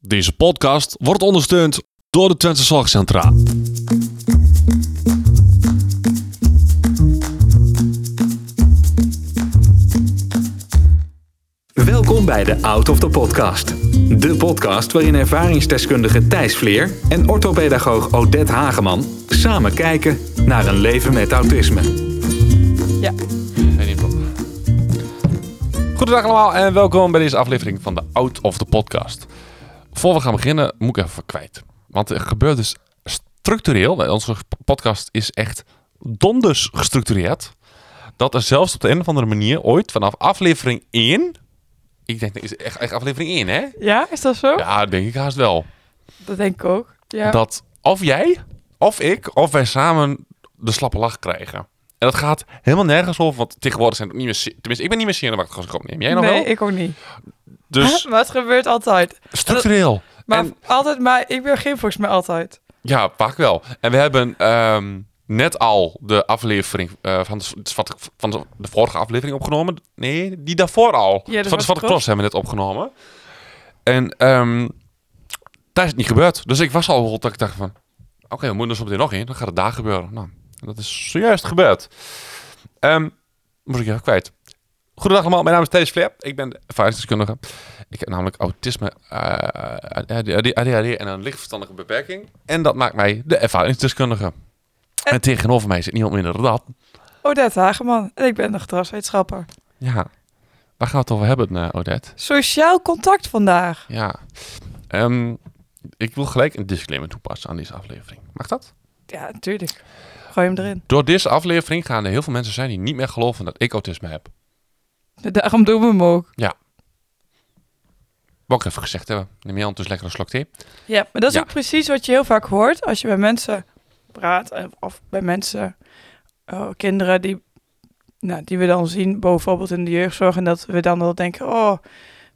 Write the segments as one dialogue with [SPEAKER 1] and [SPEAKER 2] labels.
[SPEAKER 1] Deze podcast wordt ondersteund door de Twente Zorgcentra.
[SPEAKER 2] Welkom bij de Out of the Podcast. De podcast waarin ervaringsdeskundige Thijs Vleer en orthopedagoog Odette Hageman samen kijken naar een leven met autisme.
[SPEAKER 1] Goedendag allemaal en welkom bij deze aflevering van de Out of the Podcast. Voor we gaan beginnen moet ik even kwijt. Want er gebeurt dus structureel, nou, onze podcast is echt donders gestructureerd, dat er zelfs op de een of andere manier ooit vanaf aflevering 1, ik denk, is echt, echt aflevering 1 hè?
[SPEAKER 3] Ja, is dat zo?
[SPEAKER 1] Ja, denk ik haast wel.
[SPEAKER 3] Dat denk ik ook. Ja.
[SPEAKER 1] dat of jij, of ik, of wij samen de slappe lach krijgen. En dat gaat helemaal nergens over, want tegenwoordig zijn het niet meer... se- Tenminste, ik ben niet meer zenuwachtig als ik opneem. Jij nog
[SPEAKER 3] nee,
[SPEAKER 1] wel?
[SPEAKER 3] ik ook niet.
[SPEAKER 1] Dus
[SPEAKER 3] maar het gebeurt altijd.
[SPEAKER 1] structureel.
[SPEAKER 3] Maar
[SPEAKER 1] En-
[SPEAKER 3] altijd, maar ik begin volgens mij altijd.
[SPEAKER 1] Ja, vaak wel. En we hebben ehm, net al de aflevering eh, van, de, s- wat ik- van de, de vorige aflevering opgenomen. Nee, die daarvoor al.
[SPEAKER 3] Ja, de
[SPEAKER 1] van de
[SPEAKER 3] Zwarte
[SPEAKER 1] Zwarte Cross
[SPEAKER 3] Cross
[SPEAKER 1] hebben we net opgenomen. En ehm, daar is het niet gebeurd. Dus ik was al bijvoorbeeld dat ik dacht van... Oké, we moeten er zo meteen nog in. Dan gaat het daar gebeuren. Nou, dat is zojuist gebeurd. Ehm moest ik even kwijt. Goedendag allemaal, mijn naam is Thijs Flip. Ik ben de ervaringsdeskundige. Ik heb namelijk autisme, eh, ADHD, ADHD en een lichtverstandige beperking. En dat maakt mij de ervaringsdeskundige. En tegenover mij zit niemand minder dan dat.
[SPEAKER 3] Odette Hageman. En ik ben nog gedragswetenschapper.
[SPEAKER 1] Ja, waar gaan we het over hebben, eh, Odette?
[SPEAKER 3] Sociaal contact vandaag.
[SPEAKER 1] Ja, Ehm, ik wil gelijk een disclaimer toepassen aan deze aflevering. Mag dat?
[SPEAKER 3] Ja, natuurlijk. Gooi hem erin.
[SPEAKER 1] Door deze aflevering gaan er heel veel mensen zijn die niet meer geloven dat ik autisme heb.
[SPEAKER 3] Daarom doen we hem ook.
[SPEAKER 1] Wat ik even gezegd hebben. Neem je hand dus lekker een slok thee.
[SPEAKER 3] Ja, maar dat is
[SPEAKER 1] Ja.
[SPEAKER 3] ook precies wat je heel vaak hoort als je bij mensen praat. eh, Of bij mensen, eh, kinderen die, nou, die we dan zien bijvoorbeeld in de jeugdzorg. En dat we dan wel denken, oh,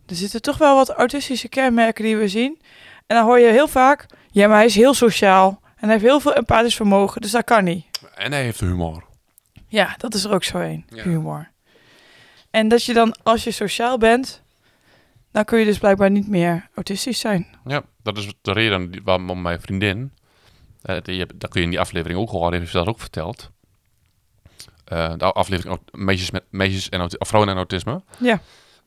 [SPEAKER 3] er zitten toch wel wat autistische kenmerken die we zien. En dan hoor je heel vaak, ja, maar hij is heel sociaal. En hij heeft heel veel empathisch vermogen, dus dat kan niet.
[SPEAKER 1] En hij heeft humor.
[SPEAKER 3] Ja, dat is er ook zo een,
[SPEAKER 1] Ja.
[SPEAKER 3] humor. En dat je dan, als je sociaal bent, dan kun je dus blijkbaar niet meer autistisch zijn.
[SPEAKER 1] Ja, dat is de reden die- waarom mijn vriendin, eh, die, heb- dat kun je in die aflevering ook horen, heeft ze dat ook verteld. Eh, de aflevering au- meisjes, met, meisjes en auti- of vrouwen en autisme.
[SPEAKER 3] Ja.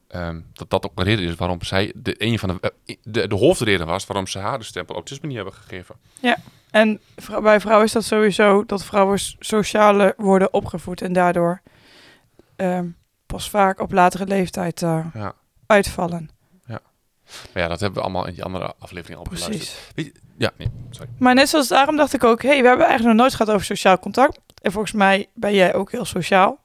[SPEAKER 1] Ehm, dat dat ook een reden is waarom zij de, een van de, eh, de, de hoofdreden was waarom ze haar de stempel autisme niet hebben gegeven.
[SPEAKER 3] En vrou- bij vrouwen is dat sowieso dat vrouwen s- socialer worden opgevoed en daardoor ehm, pas vaak op latere leeftijd eh,
[SPEAKER 1] Ja.
[SPEAKER 3] uitvallen.
[SPEAKER 1] Maar ja, dat hebben we allemaal in die andere aflevering al beluisterd.
[SPEAKER 3] Precies.
[SPEAKER 1] Ja, nee, sorry.
[SPEAKER 3] Maar net zoals daarom dacht ik ook, hé, hey, we hebben eigenlijk nog nooit gehad over sociaal contact. En volgens mij ben jij ook heel sociaal.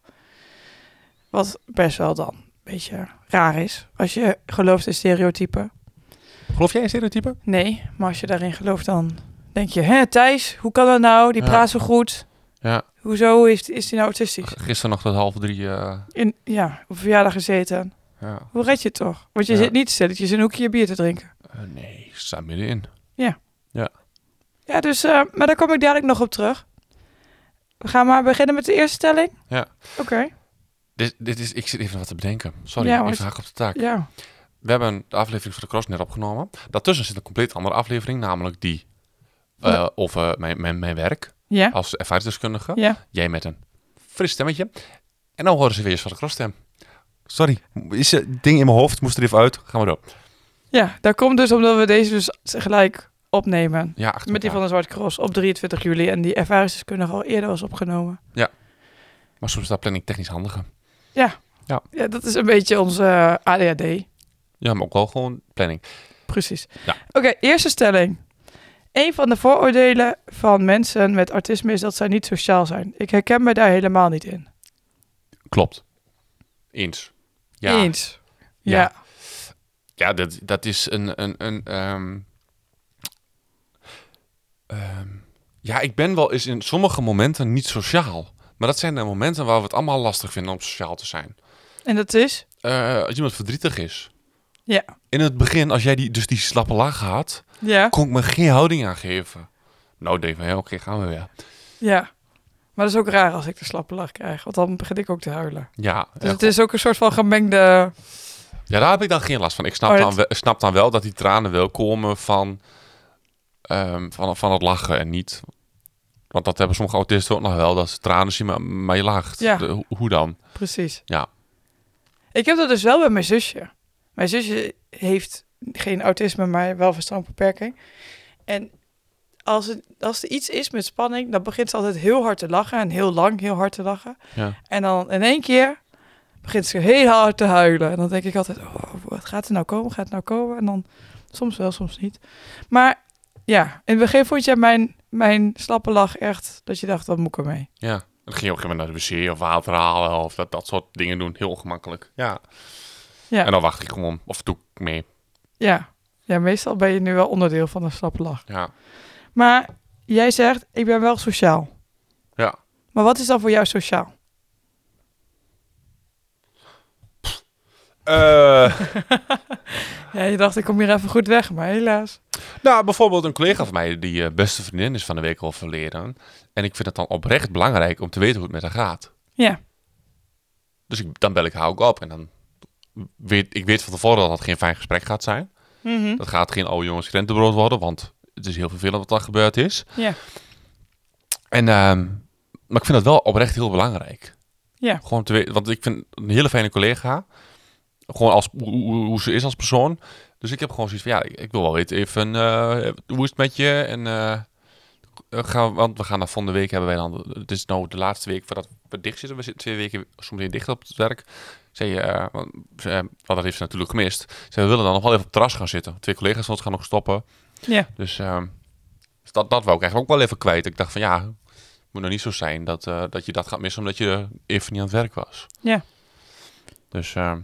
[SPEAKER 3] Wat best wel dan een beetje raar is als je gelooft in stereotypen.
[SPEAKER 1] Geloof jij in stereotypen?
[SPEAKER 3] Nee, maar als je daarin gelooft dan denk je, hè Thijs, hoe kan dat nou? Die
[SPEAKER 1] Ja.
[SPEAKER 3] praat zo goed.
[SPEAKER 1] Ja.
[SPEAKER 3] Hoezo is, is die nou autistisch?
[SPEAKER 1] Gisteren nog tot half drie. eh,
[SPEAKER 3] In, ja, op verjaardag gezeten.
[SPEAKER 1] ja.
[SPEAKER 3] Hoe red je het toch? Want je
[SPEAKER 1] Ja.
[SPEAKER 3] zit niet stilletjes in een hoekje je bier te drinken.
[SPEAKER 1] Eh, nee, ik sta middenin.
[SPEAKER 3] Ja, dus, eh, maar daar kom ik dadelijk nog op terug. We gaan maar beginnen met de eerste stelling.
[SPEAKER 1] Ja.
[SPEAKER 3] Oké,
[SPEAKER 1] Dit, dit is, ik zit even wat te bedenken. Sorry,
[SPEAKER 3] Ja,
[SPEAKER 1] ik
[SPEAKER 3] want-
[SPEAKER 1] haak op de taak.
[SPEAKER 3] ja.
[SPEAKER 1] We hebben de aflevering van de Cross net opgenomen. Daartussen zit een compleet andere aflevering, namelijk die eh,
[SPEAKER 3] Ja.
[SPEAKER 1] over mijn, mijn, mijn werk
[SPEAKER 3] Ja,
[SPEAKER 1] als ervaringsdeskundige.
[SPEAKER 3] ja.
[SPEAKER 1] Jij met een fris stemmetje. En dan horen ze weer eens van de Cross stem. Sorry, is het ding in mijn hoofd, moest er even uit. Gaan we door.
[SPEAKER 3] ja, dat komt dus omdat we deze dus gelijk opnemen.
[SPEAKER 1] Ja, achter
[SPEAKER 3] Met die van
[SPEAKER 1] elkaar.
[SPEAKER 3] de Zwarte Cross op 23 juli. En die ervaringsdeskundige al eerder was opgenomen.
[SPEAKER 1] Maar soms is dat planning technisch handiger.
[SPEAKER 3] Ja, dat is een beetje onze eh, ADHD.
[SPEAKER 1] Ja, maar ook wel gewoon planning.
[SPEAKER 3] Precies.
[SPEAKER 1] Ja.
[SPEAKER 3] Oké, eerste stelling. Een van de vooroordelen van mensen met autisme is dat zij niet sociaal zijn. Ik herken me daar helemaal niet in.
[SPEAKER 1] Klopt. Eens. Ja.
[SPEAKER 3] Eens.
[SPEAKER 1] Ja.
[SPEAKER 3] Ja.
[SPEAKER 1] Ja, dat, dat is een. een, een ehm, ehm, ja, ik ben wel eens in sommige momenten niet sociaal. Maar dat zijn de momenten waar we het allemaal lastig vinden om sociaal te zijn.
[SPEAKER 3] En dat is?
[SPEAKER 1] Eh, als iemand verdrietig is.
[SPEAKER 3] Ja.
[SPEAKER 1] In het begin, als jij die, dus die slappe laag had,
[SPEAKER 3] Ja.
[SPEAKER 1] kon ik me geen houding aan geven. Nou, Dave, oké, gaan we weer.
[SPEAKER 3] Ja. Maar dat is ook raar als ik de slappe lach krijg, want dan begin ik ook te huilen.
[SPEAKER 1] Ja,
[SPEAKER 3] Dus
[SPEAKER 1] eh,
[SPEAKER 3] het is ook een soort van gemengde
[SPEAKER 1] Ja, daar heb ik dan geen last van. Ik snap,
[SPEAKER 3] Oh, dat-
[SPEAKER 1] dan, wel, ik snap dan wel dat die tranen wel komen van, ehm, van, van het lachen en niet... Want dat hebben sommige autisten ook nog wel, dat ze tranen zien, maar, maar je lacht.
[SPEAKER 3] Ja.
[SPEAKER 1] De- hoe- hoe dan?
[SPEAKER 3] Precies.
[SPEAKER 1] Ja.
[SPEAKER 3] Ik heb dat dus wel bij mijn zusje. Mijn zusje heeft geen autisme, maar wel verstandbeperking. En als, het, als er iets is met spanning, dan begint ze altijd heel hard te lachen. En heel lang heel hard te lachen.
[SPEAKER 1] Ja.
[SPEAKER 3] En dan in één keer begint ze heel hard te huilen. En dan denk ik altijd, oh, wat gaat er nou komen? Gaat het nou komen? En dan soms wel, soms niet. Maar ja, in het begin vond je mijn, mijn slappe lach echt... dat je dacht, wat moet ik ermee?
[SPEAKER 1] Ja. En dan ging je op een gegeven moment naar de wc of water halen of dat, dat soort dingen doen. Heel ongemakkelijk. Ja.
[SPEAKER 3] Ja.
[SPEAKER 1] En dan wacht ik gewoon. Of doe ik mee.
[SPEAKER 3] Ja. ja, meestal ben je nu wel onderdeel van een slappe lach.
[SPEAKER 1] Ja.
[SPEAKER 3] Maar jij zegt, ik ben wel sociaal.
[SPEAKER 1] Ja.
[SPEAKER 3] Maar wat is dan voor jou sociaal?
[SPEAKER 1] Eh,
[SPEAKER 3] Ja, je dacht, ik kom hier even goed weg, maar helaas.
[SPEAKER 1] nou, bijvoorbeeld een collega van mij, die eh, beste vriendin is van de week al verleden. En ik vind het dan oprecht belangrijk om te weten hoe het met haar gaat.
[SPEAKER 3] Ja,
[SPEAKER 1] Dus ik, dan bel ik haar ook op. En dan weet ik weet van tevoren dat het geen fijn gesprek gaat zijn.
[SPEAKER 3] Mhm.
[SPEAKER 1] Dat gaat geen oude jongens krentenbrood worden, want het is heel vervelend wat er gebeurd is.
[SPEAKER 3] ja,
[SPEAKER 1] En, ehm, maar ik vind dat wel oprecht heel belangrijk.
[SPEAKER 3] ja.
[SPEAKER 1] Gewoon te weten, want ik vind een hele fijne collega. Gewoon als, hoe, hoe- hoe ze is als persoon. Dus ik heb gewoon zoiets van, ja, ik, ik wil wel weten even, eh, hoe is het met je? En eh, eh, gaan we, want we gaan naar volgende week hebben wij dan, het is nou de laatste week voordat we dicht zitten. We zitten twee weken soms dicht op het werk. Zei, eh, want, ze, eh, want dat heeft ze natuurlijk gemist. Ze zei, we willen dan nog wel even op het terras gaan zitten. Twee collega's van ons gaan nog stoppen.
[SPEAKER 3] Ja.
[SPEAKER 1] Dus ehm, dus dat, dat wou ik eigenlijk ook wel even kwijt. Ik dacht van, ja, het moet nou niet zo zijn dat, eh, dat je dat gaat missen omdat je even niet aan het werk was.
[SPEAKER 3] Ja.
[SPEAKER 1] Dus, ehm,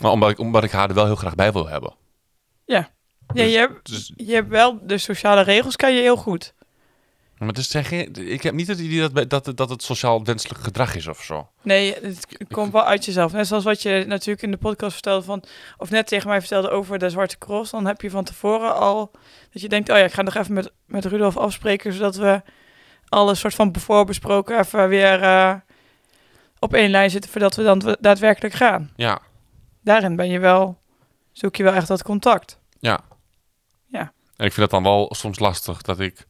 [SPEAKER 1] maar omdat ik, omdat ik haar er wel heel graag bij wil hebben.
[SPEAKER 3] ja je, hebt,
[SPEAKER 1] Dus,
[SPEAKER 3] je hebt wel de sociale regels, kan je heel goed.
[SPEAKER 1] maar het is zeggen, ik heb niet het idee dat, bij- dat, het- dat het sociaal wenselijk gedrag is of zo.
[SPEAKER 3] Nee, het k- komt wel uit jezelf. Net zoals wat je natuurlijk in de podcast vertelde van... of net tegen mij vertelde over de Zwarte Cross... dan heb je van tevoren al dat je denkt... oh ja, ik ga nog even met, met Rudolf afspreken... zodat we alles soort van voorbesproken even weer eh, op één lijn zitten... voordat we dan daadwerkelijk gaan.
[SPEAKER 1] Ja,
[SPEAKER 3] daarin ben je wel, zoek je wel echt dat contact.
[SPEAKER 1] ja.
[SPEAKER 3] Ja.
[SPEAKER 1] En ik vind dat dan wel soms lastig dat ik,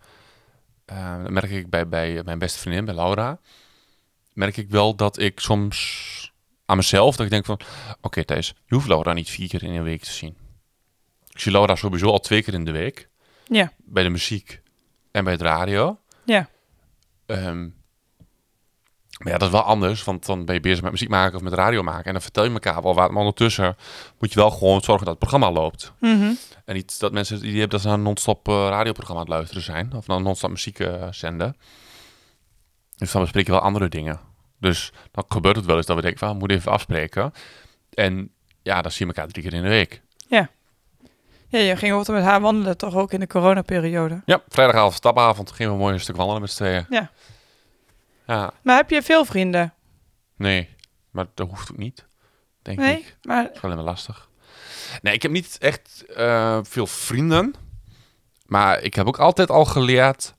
[SPEAKER 1] eh, dat merk ik bij, bij mijn beste vriendin, bij Laura, merk ik wel dat ik soms aan mezelf, dat ik denk van, oké Thijs, je hoeft Laura niet vier keer in een week te zien. Ik zie Laura sowieso al twee keer in de week.
[SPEAKER 3] Ja,
[SPEAKER 1] bij de muziek en bij het radio.
[SPEAKER 3] Ja.
[SPEAKER 1] Ehm, maar ja, dat is wel anders, want dan ben je bezig met muziek maken of met radio maken. En dan vertel je elkaar wel wat. Maar ondertussen moet je wel gewoon zorgen dat het programma loopt.
[SPEAKER 3] Mhm.
[SPEAKER 1] En niet dat mensen het idee hebben dat ze naar een non-stop eh, radioprogramma aan het luisteren zijn. Of naar een non-stop muziek eh, zenden. Dus dan bespreek je wel andere dingen. Dus dan gebeurt het wel eens dat we denken van, we moeten even afspreken. En ja, dan zien we elkaar drie keer in de week.
[SPEAKER 3] ja je ging altijd met haar wandelen, toch ook in de coronaperiode.
[SPEAKER 1] Ja, vrijdagavond, stapavond, gingen we mooi een stuk wandelen met z'n tweeën.
[SPEAKER 3] Ja.
[SPEAKER 1] Ja,
[SPEAKER 3] Maar heb je veel vrienden?
[SPEAKER 1] Nee, maar dat hoeft ook niet, denk
[SPEAKER 3] Nee,
[SPEAKER 1] ik.
[SPEAKER 3] maar
[SPEAKER 1] Dat is alleen maar lastig. Nee, ik heb niet echt eh, veel vrienden. Maar ik heb ook altijd al geleerd...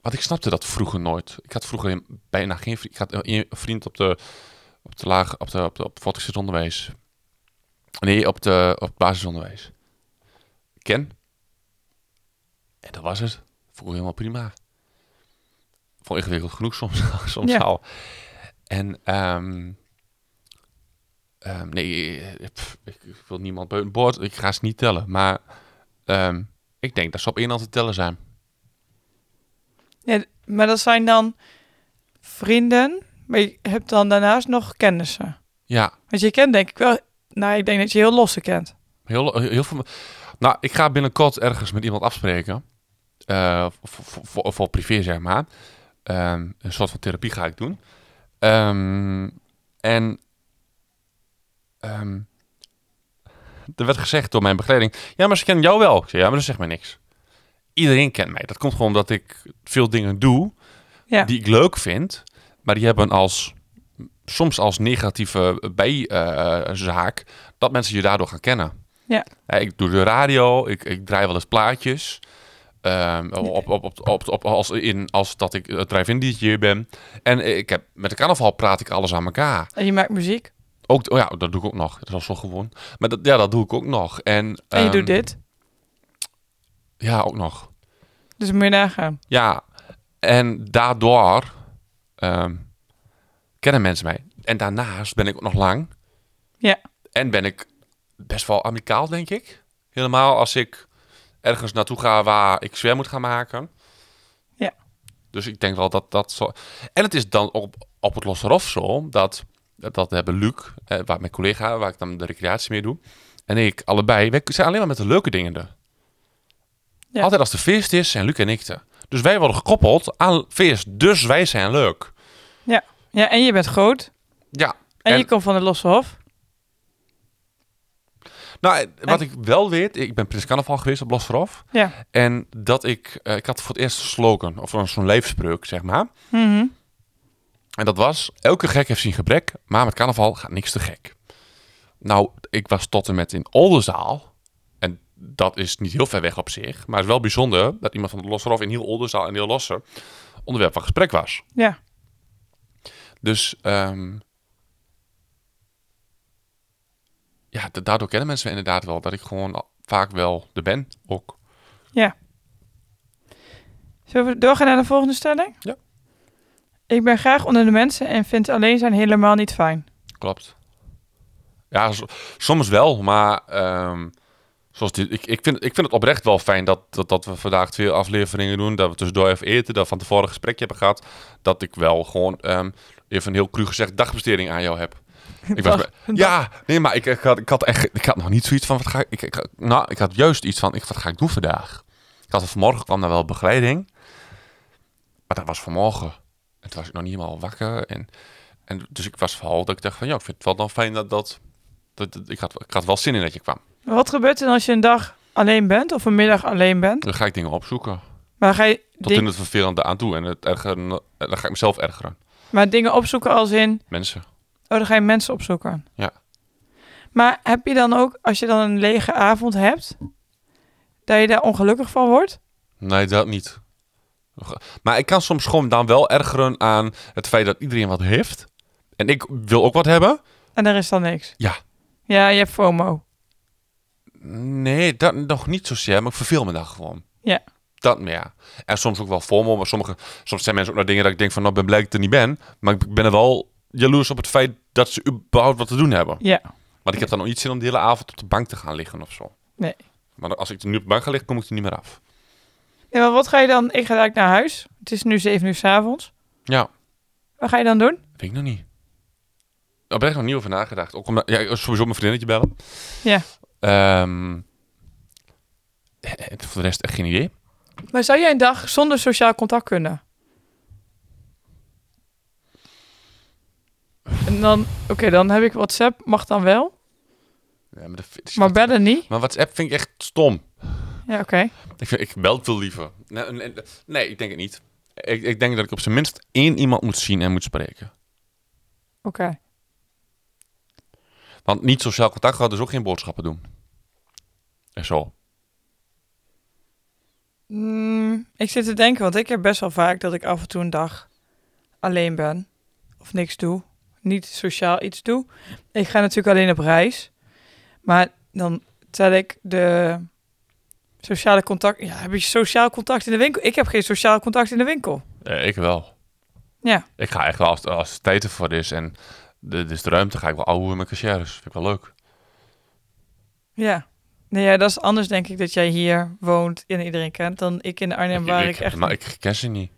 [SPEAKER 1] Want ik snapte dat vroeger nooit. Ik had vroeger bijna geen vriend. Ik had eh, een vriend op de, op de laag... Op de, op de op het voortgezet onderwijs. Nee, op, de, op het basisonderwijs. Ken. En dat was het. Vond ik helemaal prima. Vond ik ingewikkeld genoeg soms, soms
[SPEAKER 3] Ja.
[SPEAKER 1] al. En ehm, ehm, nee, eh, pff, ik, ik wil niemand buiten boord. Ik ga ze niet tellen. Maar ehm, ik denk dat ze op één hand te tellen zijn.
[SPEAKER 3] ja, maar dat zijn dan vrienden, maar je hebt dan daarnaast nog kennissen.
[SPEAKER 1] Ja,
[SPEAKER 3] Want je kent denk ik wel, nou ik denk dat je heel losse kent.
[SPEAKER 1] heel, heel veel. Nou, ik ga binnenkort ergens met iemand afspreken. Eh, voor, voor- voor, voor privé, zeg maar. Ehm, een soort van therapie ga ik doen. Ehm, en ehm, er werd gezegd door mijn begeleiding... Ja, maar ze kennen jou wel. Ik zei, ja, maar dat zegt mij niks. Iedereen kent mij. Dat komt gewoon omdat ik veel dingen doe...
[SPEAKER 3] Ja,
[SPEAKER 1] die ik leuk vind, maar die hebben als soms als negatieve bijzaak dat mensen je daardoor gaan kennen.
[SPEAKER 3] Ja.
[SPEAKER 1] Hè, ik doe de radio, ik, ik draai wel eens plaatjes. ehm, op, op, op, op, op- als, in, als dat ik het drive-in DJ ben. En ik heb, met de carnaval praat ik alles aan elkaar.
[SPEAKER 3] en je maakt muziek.
[SPEAKER 1] Ook, oh ja, dat doe ik ook nog. Dat was zo gewoon. Maar dat, ja, dat doe ik ook nog. En,
[SPEAKER 3] En je
[SPEAKER 1] ehm,
[SPEAKER 3] doet dit.
[SPEAKER 1] Ja, ook nog.
[SPEAKER 3] Dus moet je nagaan.
[SPEAKER 1] Ja, en daardoor ehm, kennen mensen mij. En daarnaast ben ik ook nog lang.
[SPEAKER 3] Ja.
[SPEAKER 1] En ben ik best wel amicaal, denk ik. Helemaal als ik ergens naartoe ga waar ik zwer moet gaan maken.
[SPEAKER 3] Ja.
[SPEAKER 1] Dus ik denk wel dat dat zo... En het is dan op, op het Losse Rof zo, dat, dat hebben Luc, eh, waar mijn collega, waar ik dan de recreatie mee doe, en ik allebei, wij zijn alleen maar met de leuke dingen er.
[SPEAKER 3] Ja.
[SPEAKER 1] Altijd als er feest is, zijn Luc en ik er. Dus wij worden gekoppeld aan feest, dus wij zijn leuk.
[SPEAKER 3] Ja, en je bent groot.
[SPEAKER 1] Ja.
[SPEAKER 3] En,
[SPEAKER 1] En-
[SPEAKER 3] je komt van het Losse Hof.
[SPEAKER 1] Nou, eh, wat ik wel weet, ik ben Prins Carnaval geweest op Los Verhof.
[SPEAKER 3] Ja.
[SPEAKER 1] En dat ik, eh, ik had voor het eerst een slogan, of een- zo'n leefspreuk, zeg maar.
[SPEAKER 3] Mhm.
[SPEAKER 1] En dat was, elke gek heeft zijn gebrek, maar met carnaval gaat niks te gek. Nou, ik was tot en met in Oldenzaal. En dat is niet heel ver weg op zich. Maar het is wel bijzonder dat iemand van de Losserhof in heel Oldenzaal en heel Losse onderwerp van gesprek was.
[SPEAKER 3] Ja.
[SPEAKER 1] Dus, ehm, ja, da- daardoor kennen mensen me inderdaad wel. Dat ik gewoon al- vaak wel de ben ook.
[SPEAKER 3] Zullen we doorgaan naar de volgende stelling?
[SPEAKER 1] Ja.
[SPEAKER 3] Ik ben graag onder de mensen en vind alleen zijn helemaal niet fijn.
[SPEAKER 1] Klopt. Ja, s- soms wel, maar ehm, zoals dit, ik, ik, vind, ik vind het oprecht wel fijn dat, dat, dat we vandaag twee afleveringen doen. Dat we tussendoor even eten, dat we van tevoren een gesprekje hebben gehad. Dat ik wel gewoon ehm, even een heel cru gezegd dagbesteding aan jou heb. Ik was
[SPEAKER 3] Dag-
[SPEAKER 1] bij- ja, nee, maar ik, ik, had, ik, had echt, ik had nog niet zoiets van, wat ga ik, ik, ik- nou, ik had juist iets van, ik, wat ga ik doen vandaag? Ik had vanmorgen, kwam daar wel begeleiding. Maar dat was vanmorgen. En toen was ik nog niet helemaal wakker. En, en dus ik was verhaal dat ik dacht van, ja, ik vind het wel dan fijn dat dat... dat, dat- ik, had, ik had wel zin in dat je kwam.
[SPEAKER 3] Wat gebeurt er dan als je een dag alleen bent of een middag alleen bent?
[SPEAKER 1] Dan ga ik dingen opzoeken.
[SPEAKER 3] Maar ga je
[SPEAKER 1] Tot
[SPEAKER 3] ding-
[SPEAKER 1] in het vervelende aan toe. En het ergeren, eh, dan ga ik mezelf ergeren.
[SPEAKER 3] maar dingen opzoeken als in,
[SPEAKER 1] Mensen.
[SPEAKER 3] oh, dan ga je mensen opzoeken.
[SPEAKER 1] Ja.
[SPEAKER 3] Maar heb je dan ook, als je dan een lege avond hebt, dat je daar ongelukkig van wordt?
[SPEAKER 1] Nee, dat niet. Maar ik kan soms gewoon dan wel ergeren aan het feit dat iedereen wat heeft. En ik wil ook wat hebben.
[SPEAKER 3] En er is dan niks.
[SPEAKER 1] Ja.
[SPEAKER 3] Ja, je hebt FOMO.
[SPEAKER 1] Nee, dat nog niet zozeer, maar ik verveel me daar gewoon.
[SPEAKER 3] Ja.
[SPEAKER 1] Dat meer. En soms ook wel FOMO, maar sommige, soms zijn mensen ook naar dingen dat ik denk van, nou ben blij dat ik er niet ben. Maar ik ben er wel jaloers op het feit dat ze überhaupt wat te doen hebben.
[SPEAKER 3] Ja.
[SPEAKER 1] Want ik heb dan nog niet zin om de hele avond op de bank te gaan liggen of zo.
[SPEAKER 3] Nee.
[SPEAKER 1] Maar als ik er nu op de bank ga liggen, kom ik er niet meer af.
[SPEAKER 3] Ja, maar wat ga je dan? Ik ga eigenlijk naar huis. Het is nu 7 uur 's avonds.
[SPEAKER 1] Ja,
[SPEAKER 3] Wat ga je dan doen?
[SPEAKER 1] weet ik nog niet. Daar ben ik nog niet over nagedacht. Ook omdat, ja, sowieso mijn vriendinnetje bellen.
[SPEAKER 3] Ja.
[SPEAKER 1] Ehm, eh, eh, voor de rest echt geen idee.
[SPEAKER 3] Maar zou jij een dag zonder sociaal contact kunnen? En dan, oké, dan heb ik WhatsApp, mag dan wel,
[SPEAKER 1] Ja, maar, de,
[SPEAKER 3] maar bellen niet.
[SPEAKER 1] maar WhatsApp vind ik echt stom.
[SPEAKER 3] Ja, oké.
[SPEAKER 1] Ik, vind- ik bel veel liever. Nee, nee, nee, ik denk het niet. Ik, ik denk dat ik op zijn minst één iemand moet zien en moet spreken.
[SPEAKER 3] Oké.
[SPEAKER 1] Want niet sociaal contact gaat dus ook geen boodschappen doen. En zo.
[SPEAKER 3] Mm, ik zit te denken, want ik heb best wel vaak dat ik af en toe een dag alleen ben. Of niks doe. Niet sociaal iets doe. Ik ga natuurlijk alleen op reis. Maar dan tel ik de sociale contact. Ja, heb je sociaal contact in de winkel? Ik heb geen sociaal contact in de winkel.
[SPEAKER 1] Eh, ik wel.
[SPEAKER 3] Ja.
[SPEAKER 1] Ik ga echt wel, als, als er tijd ervoor is en de, dus de ruimte, ga ik wel ouwe met mijn cashiers. Vind ik wel leuk.
[SPEAKER 3] Ja. Nee, ja, dat is anders denk ik dat jij hier woont en iedereen kent dan ik in Arnhem waar ik, echt.
[SPEAKER 1] Maar ik ken ze niet.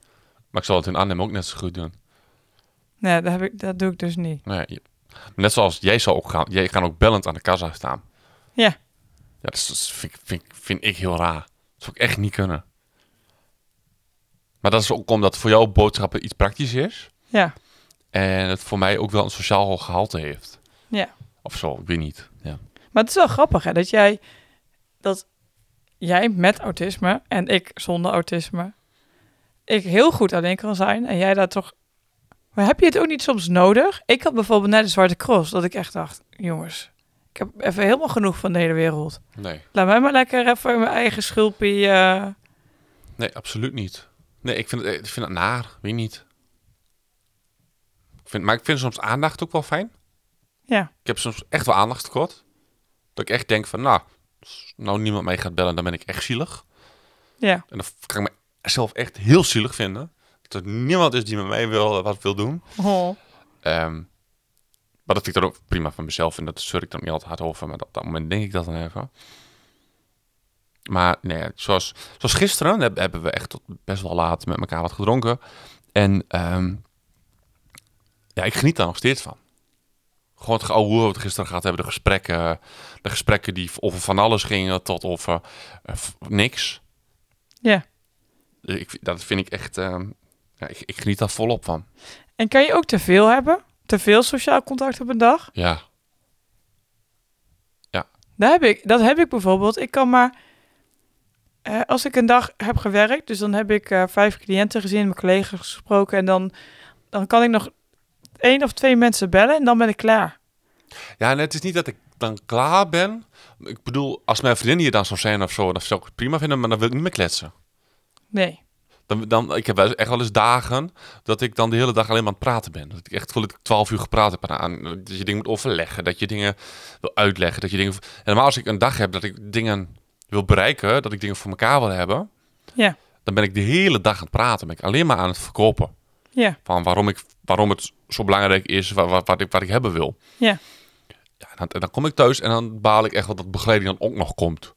[SPEAKER 1] Maar ik zal het in Arnhem ook net zo goed doen.
[SPEAKER 3] Nee, dat, heb ik, dat doe ik dus niet.
[SPEAKER 1] Nee, je- net zoals jij zal ook gaan. Jij gaat ook bellend aan de kassa staan.
[SPEAKER 3] Ja.
[SPEAKER 1] Ja, dat, is- dat is- vind, ik- vind, ik- vind ik heel raar. Dat zou ik echt niet kunnen. Maar dat is ook omdat voor jou boodschappen iets praktisch is.
[SPEAKER 3] Ja.
[SPEAKER 1] En het voor mij ook wel een sociaal gehalte heeft.
[SPEAKER 3] Ja.
[SPEAKER 1] Of zo, ik weet niet. Ja.
[SPEAKER 3] Maar het is wel grappig hè, dat jij dat jij met autisme en ik zonder autisme ik heel goed alleen kan zijn en jij daar toch maar heb je het ook niet soms nodig? Ik had bijvoorbeeld net de Zwarte Cross dat ik echt dacht, jongens, ik heb even helemaal genoeg van de hele wereld.
[SPEAKER 1] Nee.
[SPEAKER 3] Laat mij maar lekker even in mijn eigen schulpie. eh,
[SPEAKER 1] Nee, absoluut niet. Nee, ik vind het, ik vind het naar. Weet niet. Ik vind, maar ik vind soms aandacht ook wel fijn.
[SPEAKER 3] Ja.
[SPEAKER 1] Ik heb soms echt wel aandachtstekort. Dat ik echt denk van, nou, als nou niemand mij gaat bellen, dan ben ik echt zielig.
[SPEAKER 3] Ja.
[SPEAKER 1] En dan kan ik mezelf echt heel zielig vinden. Dat er niemand is die met mij wil, eh, wat wil doen.
[SPEAKER 3] Oh.
[SPEAKER 1] Ehm, maar dat vind ik dan ook prima van mezelf. En dat zeur ik dan niet altijd hard over. Maar op dat moment denk ik dat dan even. Maar nee, zoals, zoals gisteren heb- hebben we echt tot best wel laat met elkaar wat gedronken. En ehm, ja, ik geniet daar nog steeds van. Gewoon het geouwe hoer wat we gisteren gehad hebben. De gesprekken, de gesprekken die over van alles gingen tot over eh, v- niks.
[SPEAKER 3] Ja.
[SPEAKER 1] Dus ik, dat vind ik echt... ehm, ja, ik, ik geniet daar volop van.
[SPEAKER 3] En kan je ook te veel hebben? Te veel sociaal contact op een dag?
[SPEAKER 1] Ja.
[SPEAKER 3] Daar heb ik, dat heb ik bijvoorbeeld. Ik kan maar. eh, als ik een dag heb gewerkt, dus dan heb ik eh, vijf cliënten gezien, mijn collega's gesproken. En dan, dan kan ik nog één of twee mensen bellen en dan ben ik klaar.
[SPEAKER 1] Ja, en het is niet dat ik dan klaar ben. Ik bedoel, als mijn vriendin hier dan zou zijn of zo, dan zou ik het prima vinden, maar dan wil ik niet meer kletsen.
[SPEAKER 3] Nee.
[SPEAKER 1] Dan, dan, ik heb wel eens- echt wel eens dagen dat ik dan de hele dag alleen maar aan het praten ben. Dat ik echt voel dat ik twaalf uur gepraat heb aan. Dat je dingen moet overleggen, dat je dingen wil uitleggen, dat je dingen... En normaal als ik een dag heb dat ik dingen wil bereiken, dat ik dingen voor elkaar wil hebben...
[SPEAKER 3] Ja.
[SPEAKER 1] Dan ben ik de hele dag aan het praten, ben ik alleen maar aan het verkopen
[SPEAKER 3] Ja.
[SPEAKER 1] van waarom, ik, waarom het zo belangrijk is, wat, wat, wat, ik, wat ik hebben wil.
[SPEAKER 3] Ja.
[SPEAKER 1] ja en, dan, en dan kom ik thuis en dan baal ik echt wel dat begeleiding dan ook nog komt.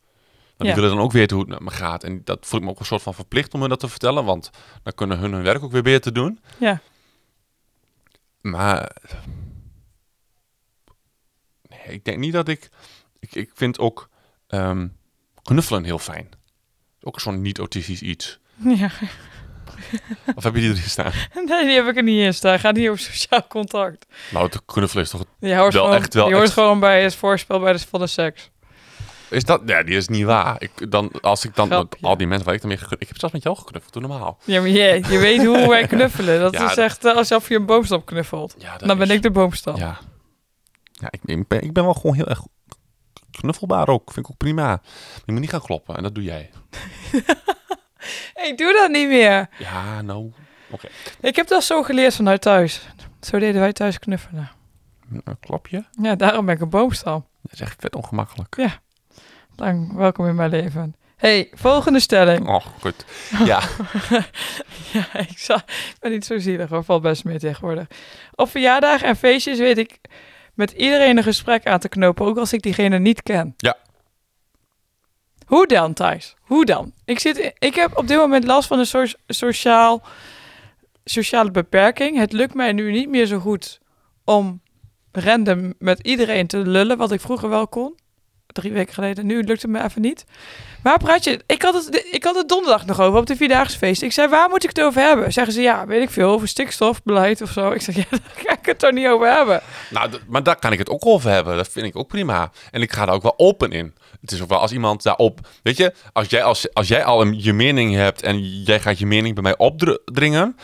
[SPEAKER 1] Want
[SPEAKER 3] Ja.
[SPEAKER 1] die willen dan ook weten hoe het met me gaat. En dat voel ik me ook een soort van verplicht om hun dat te vertellen, want dan kunnen hun hun werk ook weer beter doen.
[SPEAKER 3] Ja.
[SPEAKER 1] Maar eh, nee, ik denk niet dat ik... Ik, ik vind ook ehm, knuffelen heel fijn. Ook zo'n niet-autistisch iets.
[SPEAKER 3] ja.
[SPEAKER 1] Of heb je die erin staan?
[SPEAKER 3] Nee, die heb ik er niet in staan. Gaat niet over sociaal contact.
[SPEAKER 1] Nou, het knuffelen is toch...
[SPEAKER 3] Je hoort,
[SPEAKER 1] Wel
[SPEAKER 3] gewoon,
[SPEAKER 1] echt, wel
[SPEAKER 3] je hoort
[SPEAKER 1] echt.
[SPEAKER 3] gewoon bij het voorspel bij de van de seks.
[SPEAKER 1] Is dat... Nee, die is niet waar. Ik, dan, als ik dan...
[SPEAKER 3] Grapje.
[SPEAKER 1] Al die mensen waar ik dan mee geknuffeld... Ik heb zelfs met jou geknuffeld, toen normaal.
[SPEAKER 3] Ja, maar jee, je weet hoe wij knuffelen. Dat
[SPEAKER 1] Ja,
[SPEAKER 3] is
[SPEAKER 1] dat-
[SPEAKER 3] echt eh, alsof je een boomstam knuffelt.
[SPEAKER 1] Ja,
[SPEAKER 3] Dan ben ik de boomstam.
[SPEAKER 1] Ja. Ja, ik, ik, ben, ik ben wel gewoon heel erg knuffelbaar ook. Vind ik ook prima. Maar je moet niet gaan kloppen. En dat doe jij.
[SPEAKER 3] Hey, doe dat niet meer.
[SPEAKER 1] Ja, nou...
[SPEAKER 3] Ik heb dat zo geleerd vanuit thuis. Zo deden wij thuis knuffelen.
[SPEAKER 1] Een klapje?
[SPEAKER 3] Ja, daarom ben ik een boomstam.
[SPEAKER 1] Dat is echt vet ongemakkelijk.
[SPEAKER 3] Ja. Dank, welkom in mijn leven. Hey, volgende stelling.
[SPEAKER 1] Oh, goed. Ja.
[SPEAKER 3] Ja, ik, zal, ik ben niet zo zielig hoor, valt best mee tegenwoordig. Op verjaardagen en feestjes weet ik met iedereen een gesprek aan te knopen, ook als ik diegene niet ken.
[SPEAKER 1] Ja.
[SPEAKER 3] Hoe dan, Thijs? Hoe dan? Ik, zit, ik heb op dit moment last van een soort sociaal, sociale beperking. Het lukt mij nu niet meer zo goed om random met iedereen te lullen, wat ik vroeger wel kon. Drie weken geleden. Nu lukt het me even niet. Waar praat je? Ik had het, ik had het donderdag nog over op de Vierdaagse Feest. Ik zei, waar moet ik het over hebben? Zeggen ze, ja, weet ik veel, over stikstofbeleid of zo. Ik zeg, ja, daar ga ik het toch niet over hebben.
[SPEAKER 1] Nou, d- maar daar kan ik het ook over hebben. Dat vind ik ook prima. En ik ga daar ook wel open in. Het is ook wel als iemand daarop... Weet je, als jij, als, als jij al een, je mening hebt en jij gaat je mening bij mij opdringen...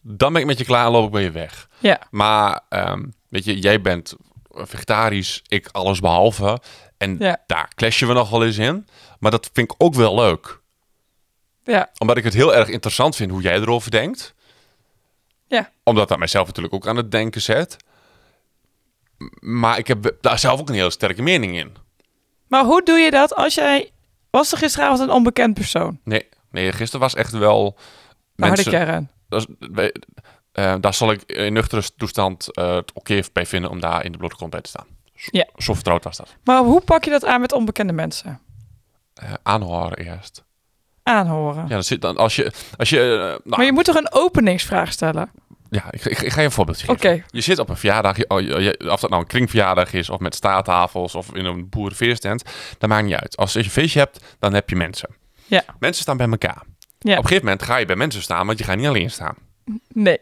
[SPEAKER 1] Dan ben ik met je klaar en loop ik bij je weg.
[SPEAKER 3] Ja,
[SPEAKER 1] Maar ehm, weet je, jij bent vegetarisch, ik alles behalve. En
[SPEAKER 3] Ja.
[SPEAKER 1] daar clashen we nog wel eens in. Maar dat vind ik ook wel leuk.
[SPEAKER 3] ja,
[SPEAKER 1] Omdat ik het heel erg interessant vind hoe jij erover denkt.
[SPEAKER 3] ja.
[SPEAKER 1] Omdat dat mijzelf natuurlijk ook aan het denken zet. M- Maar ik heb daar zelf ook een heel sterke mening in.
[SPEAKER 3] Maar hoe doe je dat als jij... Was er gisteravond een onbekend persoon?
[SPEAKER 1] Nee, nee gisteren was echt wel...
[SPEAKER 3] De harde kern.
[SPEAKER 1] dat is- wij- eh, daar zal ik in nuchtere toestand eh, het oké bij vinden om daar in de blote kont bij te staan. Zo,
[SPEAKER 3] Ja.
[SPEAKER 1] zo vertrouwd was dat.
[SPEAKER 3] Maar hoe pak je dat aan met onbekende mensen?
[SPEAKER 1] Eh, aanhoren eerst.
[SPEAKER 3] Aanhoren.
[SPEAKER 1] Ja, dat zit dan als je. Als je eh, nou,
[SPEAKER 3] Maar je moet toch een openingsvraag stellen?
[SPEAKER 1] Ja, ik, ik, ik ga je een voorbeeld geven.
[SPEAKER 3] Oké.
[SPEAKER 1] Je zit op een verjaardag, je- oh, je- je- of dat nou een kringverjaardag is, of met staattafels, of in een boerenfeesttent, dat maakt niet uit. Als je een feestje hebt, dan heb je mensen.
[SPEAKER 3] Ja.
[SPEAKER 1] Mensen staan bij elkaar.
[SPEAKER 3] Ja.
[SPEAKER 1] Op een gegeven moment ga je bij mensen staan, want je gaat niet alleen staan.
[SPEAKER 3] Nee.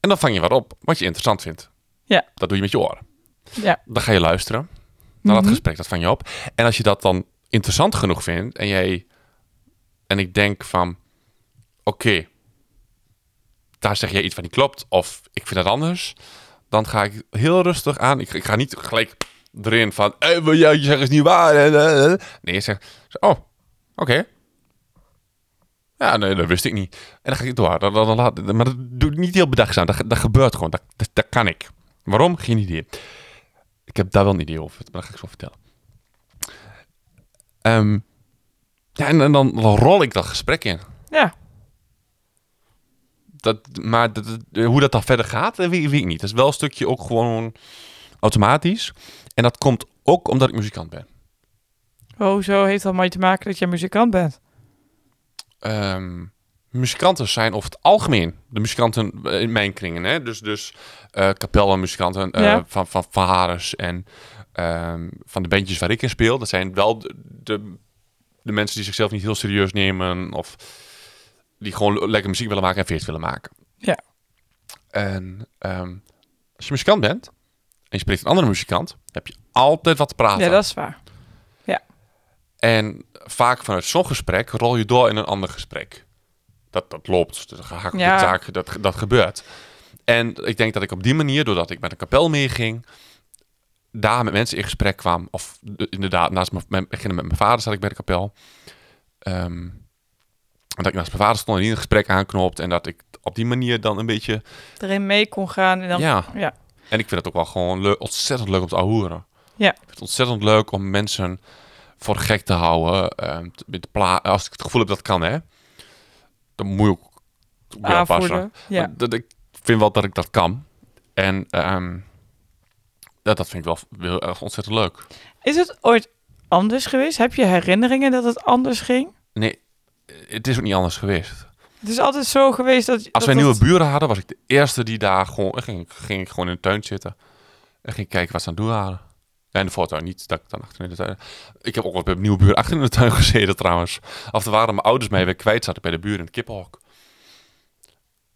[SPEAKER 1] En dan vang je wat op, wat je interessant vindt.
[SPEAKER 3] Ja.
[SPEAKER 1] Dat doe je met je oren.
[SPEAKER 3] Ja.
[SPEAKER 1] Dan ga je luisteren naar dat gesprek, dat vang je op. En als je dat dan interessant genoeg vindt, en jij... En ik denk van, oké, daar zeg jij iets van niet klopt, of ik vind dat anders, dan ga ik heel rustig aan. Ik, ik ga niet gelijk erin van, hey, wil jij je zeggen is niet waar. en, eh, eh. Nee, ik zeg, oh, oké. Ja, nee, dat wist ik niet. En dan ga ik door. Dan, dan, dan laat- maar dat doe ik niet heel bedachtzaam. Dat, ge- dat gebeurt gewoon. Dat, dat, dat kan ik. Waarom? Geen idee. Ik heb daar wel een idee over, maar dat ga ik zo vertellen. Ehm, ja, en, en dan rol ik dat gesprek in.
[SPEAKER 3] Ja.
[SPEAKER 1] Dat, maar dat- dat- hoe dat dan verder gaat, dat weet, weet ik niet. Dat is wel een stukje ook gewoon automatisch. En dat komt ook omdat ik muzikant ben.
[SPEAKER 3] Hoezo heeft dat maar te maken dat jij muzikant bent?
[SPEAKER 1] ehm, muzikanten zijn over het algemeen de muzikanten eh, in mijn kringen. Hè? Dus, dus eh kapellenmuzikanten eh,
[SPEAKER 3] Ja.
[SPEAKER 1] van, van Vares en ehm, van de bandjes waar ik in speel. Dat zijn wel de, de, de mensen die zichzelf niet heel serieus nemen of die gewoon lekker muziek willen maken en feest willen maken.
[SPEAKER 3] Ja.
[SPEAKER 1] En ehm, als je muzikant bent en je spreekt een andere muzikant, heb je altijd wat te praten.
[SPEAKER 3] Ja, dat is waar.
[SPEAKER 1] En vaak vanuit zo'n gesprek rol je door in een ander gesprek. Dat, dat loopt, dat ga ik op
[SPEAKER 3] Ja.
[SPEAKER 1] de taak, dat, dat gebeurt. En ik denk dat ik op die manier, doordat ik met een kapel meeging, daar met mensen in gesprek kwam. Of eh, inderdaad, naast mijn, mijn, beginnen met mijn vader zat ik bij de kapel. Ehm, en dat ik naast mijn vader stond en die een gesprek aanknoopt. En dat ik op die manier dan een beetje...
[SPEAKER 3] Erin mee kon gaan en dan...
[SPEAKER 1] ja.
[SPEAKER 3] ja.
[SPEAKER 1] En ik vind het ook wel gewoon leu- ontzettend leuk om te ahoeren.
[SPEAKER 3] Ja.
[SPEAKER 1] Ik vind het ontzettend leuk om mensen voor de gek te houden. ehm, te- te pla- als ik het gevoel heb dat kan, hè. Dan moet je ook moet je
[SPEAKER 3] aanvoelen. Ja.
[SPEAKER 1] Maar Dat, ik vind wel dat ik dat kan. En ehm, dat, dat vind ik wel heel erg ontzettend leuk.
[SPEAKER 3] Is het ooit anders geweest? Heb je herinneringen dat het anders ging?
[SPEAKER 1] Nee, het is ook niet anders geweest.
[SPEAKER 3] Het is altijd zo geweest dat...
[SPEAKER 1] Als
[SPEAKER 3] dat
[SPEAKER 1] wij nieuwe
[SPEAKER 3] dat-
[SPEAKER 1] buren hadden, was ik de eerste die daar gewoon... Ging, ik- ging ik gewoon in de tuin zitten. En ging kijken wat ze aan het doen waren. Ja, in de voortuin niet, dat ik dan achter in de tuin... Ik heb ook wel bij nieuwe buren achter in de tuin gezeten trouwens. Of er waren mijn ouders mij weer kwijt, zaten bij de buren in het kippenhok.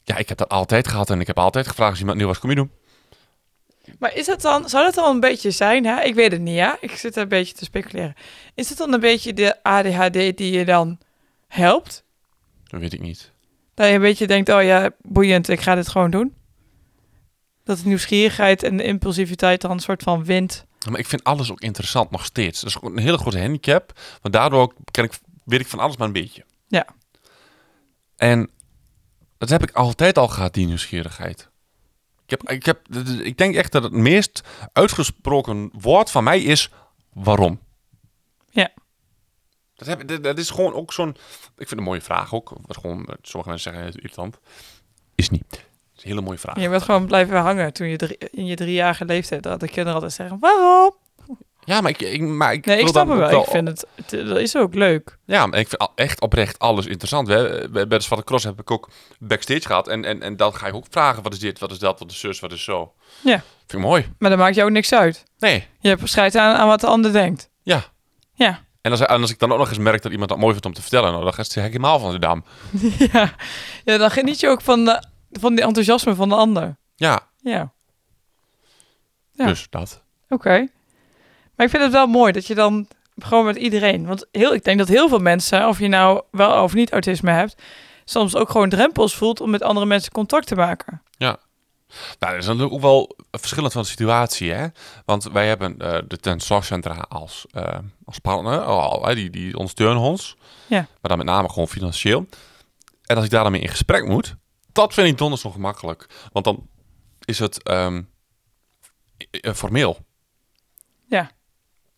[SPEAKER 1] Ja, ik heb dat altijd gehad. En ik heb altijd gevraagd als iemand nieuw was, kom je doen?
[SPEAKER 3] Maar is dat dan, zou dat dan een beetje zijn, hè? Ik weet het niet, ja. Ik zit daar een beetje te speculeren. Is dat dan een beetje de ADHD die je dan helpt?
[SPEAKER 1] Dat weet ik niet.
[SPEAKER 3] Dat je een beetje denkt, oh ja, boeiend, ik ga dit gewoon doen? Dat de nieuwsgierigheid en de impulsiviteit dan een soort van wint.
[SPEAKER 1] Maar ik vind alles ook interessant nog steeds. Dat is ook een hele grote handicap. Want daardoor ken ik, weet ik van alles maar een beetje.
[SPEAKER 3] Ja.
[SPEAKER 1] En dat heb ik altijd al gehad, die nieuwsgierigheid. Ik, heb, ik, heb, ik denk echt dat het meest uitgesproken woord van mij is waarom.
[SPEAKER 3] Ja.
[SPEAKER 1] Dat, heb, dat, dat is gewoon ook zo'n... Ik vind het een mooie vraag ook. Wat gewoon, eh, sommige mensen zeggen, het is irritant. Is niet. Het is een hele mooie vraag.
[SPEAKER 3] Je bent gewoon blijven hangen toen je drie- in je driejarige leeftijd dat de kinderen altijd zeggen, waarom?
[SPEAKER 1] Ja, maar ik, ik, maar ik
[SPEAKER 3] Nee, ik
[SPEAKER 1] wil
[SPEAKER 3] snap
[SPEAKER 1] dan
[SPEAKER 3] hem
[SPEAKER 1] ook
[SPEAKER 3] wel. Ik vind het, het- dat is ook leuk.
[SPEAKER 1] Ja, maar ik vind al- echt oprecht alles interessant. We- we- Bij de Zwarte Cross heb ik ook backstage gehad. En, en, en dan ga ik ook vragen, wat is dit, wat is dat, wat is zus, wat is zo.
[SPEAKER 3] Ja.
[SPEAKER 1] Vind ik mooi.
[SPEAKER 3] Maar dat maakt jou niks uit.
[SPEAKER 1] Nee,
[SPEAKER 3] Je scheidt aan, aan wat de ander denkt.
[SPEAKER 1] ja.
[SPEAKER 3] Ja.
[SPEAKER 1] En als, en als ik dan ook nog eens merk dat iemand dat mooi vindt om te vertellen, nou, dan ga ik helemaal van de dam.
[SPEAKER 3] Ja, ja dan geniet je ook van, de, van die enthousiasme van de ander.
[SPEAKER 1] Ja,
[SPEAKER 3] Ja, Ja.
[SPEAKER 1] dus dat.
[SPEAKER 3] oké. Maar ik vind het wel mooi dat je dan gewoon met iedereen... Want heel, ik denk dat heel veel mensen, of je nou wel of niet autisme hebt... soms ook gewoon drempels voelt om met andere mensen contact te maken.
[SPEAKER 1] Nou, dat is natuurlijk ook wel verschillend van de situatie, hè. Want wij hebben eh, de Ten Zorgcentra als, eh, als partner, al, hè, die, die ondersteunen ons.
[SPEAKER 3] Ja.
[SPEAKER 1] Maar dan met name gewoon financieel. En als ik daar dan mee in gesprek moet, dat vind ik donders nog makkelijk. Want dan is het ehm, i- i- eh, formeel.
[SPEAKER 3] Ja.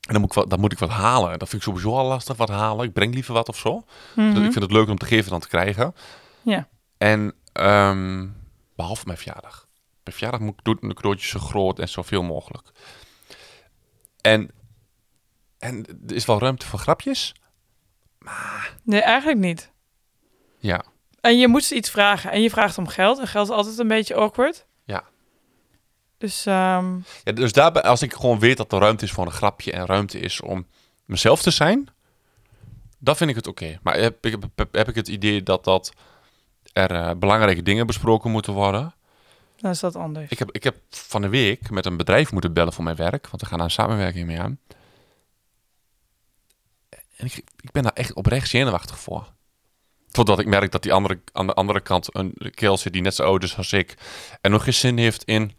[SPEAKER 1] En dan moet, ik wat, dan moet ik wat halen. Dat vind ik sowieso al lastig, wat halen. Ik breng liever wat of zo.
[SPEAKER 3] Mhm.
[SPEAKER 1] Dus ik vind het leuker om te geven dan te krijgen.
[SPEAKER 3] Ja.
[SPEAKER 1] En ehm, behalve mijn verjaardag. Mijn verjaardag moet ik doen de cadeautjes zo groot en zoveel mogelijk. En, en er is wel ruimte voor grapjes.
[SPEAKER 3] Nee, eigenlijk niet.
[SPEAKER 1] Ja.
[SPEAKER 3] En je moet ze iets vragen. En je vraagt om geld. En geld is altijd een beetje awkward.
[SPEAKER 1] Ja.
[SPEAKER 3] Dus ehm,
[SPEAKER 1] ja dus daarbij, als ik gewoon weet dat er ruimte is voor een grapje en ruimte is om mezelf te zijn, dan vind ik het oké. Maar heb ik, heb, heb ik het idee dat, dat er eh, belangrijke dingen besproken moeten worden,
[SPEAKER 3] dan is dat anders.
[SPEAKER 1] Ik heb, ik heb van de week met een bedrijf moeten bellen voor mijn werk, want we gaan daar een samenwerking mee aan. En ik, ik ben daar echt oprecht zenuwachtig voor. Totdat ik merk dat die andere, aan de andere kant een kerel zit die net zo oud is als ik. En nog geen zin heeft in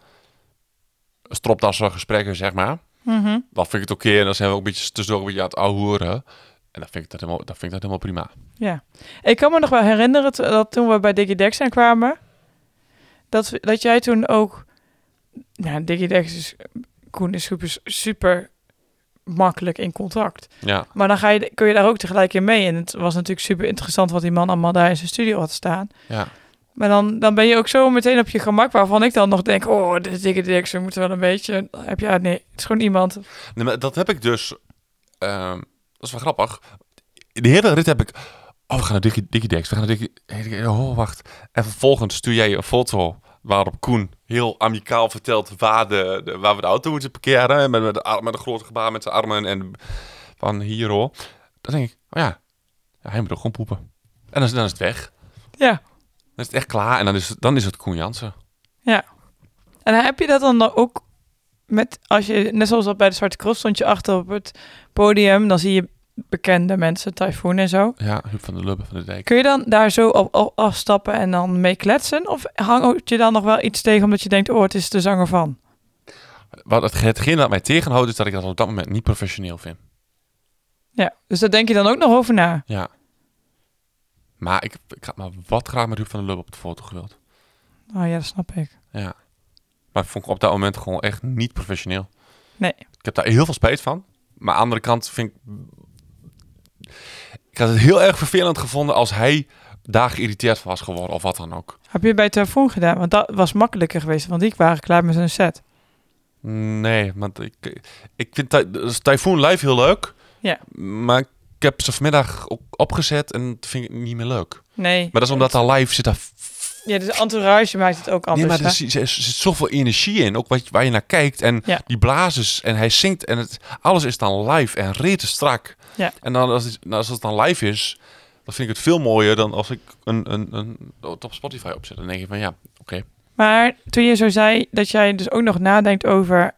[SPEAKER 1] stropdassen gesprekken, zeg maar.
[SPEAKER 3] Mhm.
[SPEAKER 1] Dan vind ik het oké en dan zijn we ook een beetje tussendoor een beetje aan het ouwehoeren. En dan vind ik dat helemaal, dan vind ik dat helemaal prima.
[SPEAKER 3] Ja. Ik kan me nog wel herinneren t- dat toen we bij DigiDex aankwamen, dat, we- dat jij toen ook... Ja, DigiDex is Koen is super, super makkelijk in contact.
[SPEAKER 1] Ja,
[SPEAKER 3] Maar dan ga je, kun je daar ook tegelijk in mee. En het was natuurlijk super interessant wat die man allemaal daar in zijn studio had staan.
[SPEAKER 1] ja.
[SPEAKER 3] Maar dan, dan ben je ook zo meteen op je gemak, waarvan ik dan nog denk... Oh, dit dikke dik, ze moeten wel een beetje... Dan Heb je, ja, nee, het is gewoon iemand...
[SPEAKER 1] Nee, maar dat heb ik dus. ehm, dat is wel grappig. De hele rit heb ik. Oh, we gaan naar Digi- Digidex. We gaan naar Digi. hey, Digi- Oh, wacht. En vervolgens stuur jij een foto. Waarop Koen heel amicaal vertelt waar, de, de- waar we de auto moeten parkeren. Met, met, de arm- met een grote gebaar met zijn armen. En van hier hoor. Dan denk ik, oh ja. ja hij moet ook gewoon poepen. En dan, is- dan is het weg.
[SPEAKER 3] Ja.
[SPEAKER 1] Dan is het echt klaar. En dan is, het- dan is het Koen Jansen.
[SPEAKER 3] En heb je dat dan ook met... Als je, net zoals dat bij de Zwarte Cross stond je achter op het podium... Dan zie je bekende mensen, Typhoon en zo.
[SPEAKER 1] Ja, Huub van der Lubbe van de Dijk.
[SPEAKER 3] Kun je dan daar zo op, op afstappen en dan mee kletsen? Of hangt je dan nog wel iets tegen omdat je denkt... Oh, het is de zanger van.
[SPEAKER 1] Wat het, hetgeen dat mij tegenhoudt is dat ik dat op dat moment niet professioneel vind.
[SPEAKER 3] Ja, dus daar denk je dan ook nog over na.
[SPEAKER 1] Ja. Maar ik, ik had maar wat graag met Huub van der Lubbe op de foto gewild.
[SPEAKER 3] Oh ja, dat snap ik.
[SPEAKER 1] Ja. Maar ik vond ik op dat moment gewoon echt niet professioneel.
[SPEAKER 3] Nee.
[SPEAKER 1] Ik heb daar heel veel spijt van. Maar aan de andere kant vind ik... Ik had het heel erg vervelend gevonden als hij daar geïrriteerd van was geworden of wat dan ook.
[SPEAKER 3] Heb je bij telefoon gedaan? Want dat was makkelijker geweest, want die waren klaar met hun set.
[SPEAKER 1] Nee, want ik, ik vind Ty- dus Typhoon live heel leuk.
[SPEAKER 3] Ja.
[SPEAKER 1] Maar ik heb ze vanmiddag op, opgezet en dat vind ik niet meer leuk.
[SPEAKER 3] Nee.
[SPEAKER 1] Maar dat is omdat daar live zit daar
[SPEAKER 3] Ja, dus entourage maakt het ook anders.
[SPEAKER 1] nee, maar
[SPEAKER 3] hè?
[SPEAKER 1] er zi- er zit, zoveel energie in, ook wat, waar je naar kijkt. En
[SPEAKER 3] Ja.
[SPEAKER 1] die blazers en hij zingt en het, alles is dan live en rete strak.
[SPEAKER 3] Ja.
[SPEAKER 1] En dan als, het, nou, als het dan live is, dan vind ik het veel mooier dan als ik een, een, een, het op Spotify opzet. Dan denk je van ja, oké.
[SPEAKER 3] Maar toen je zo zei dat jij dus ook nog nadenkt over...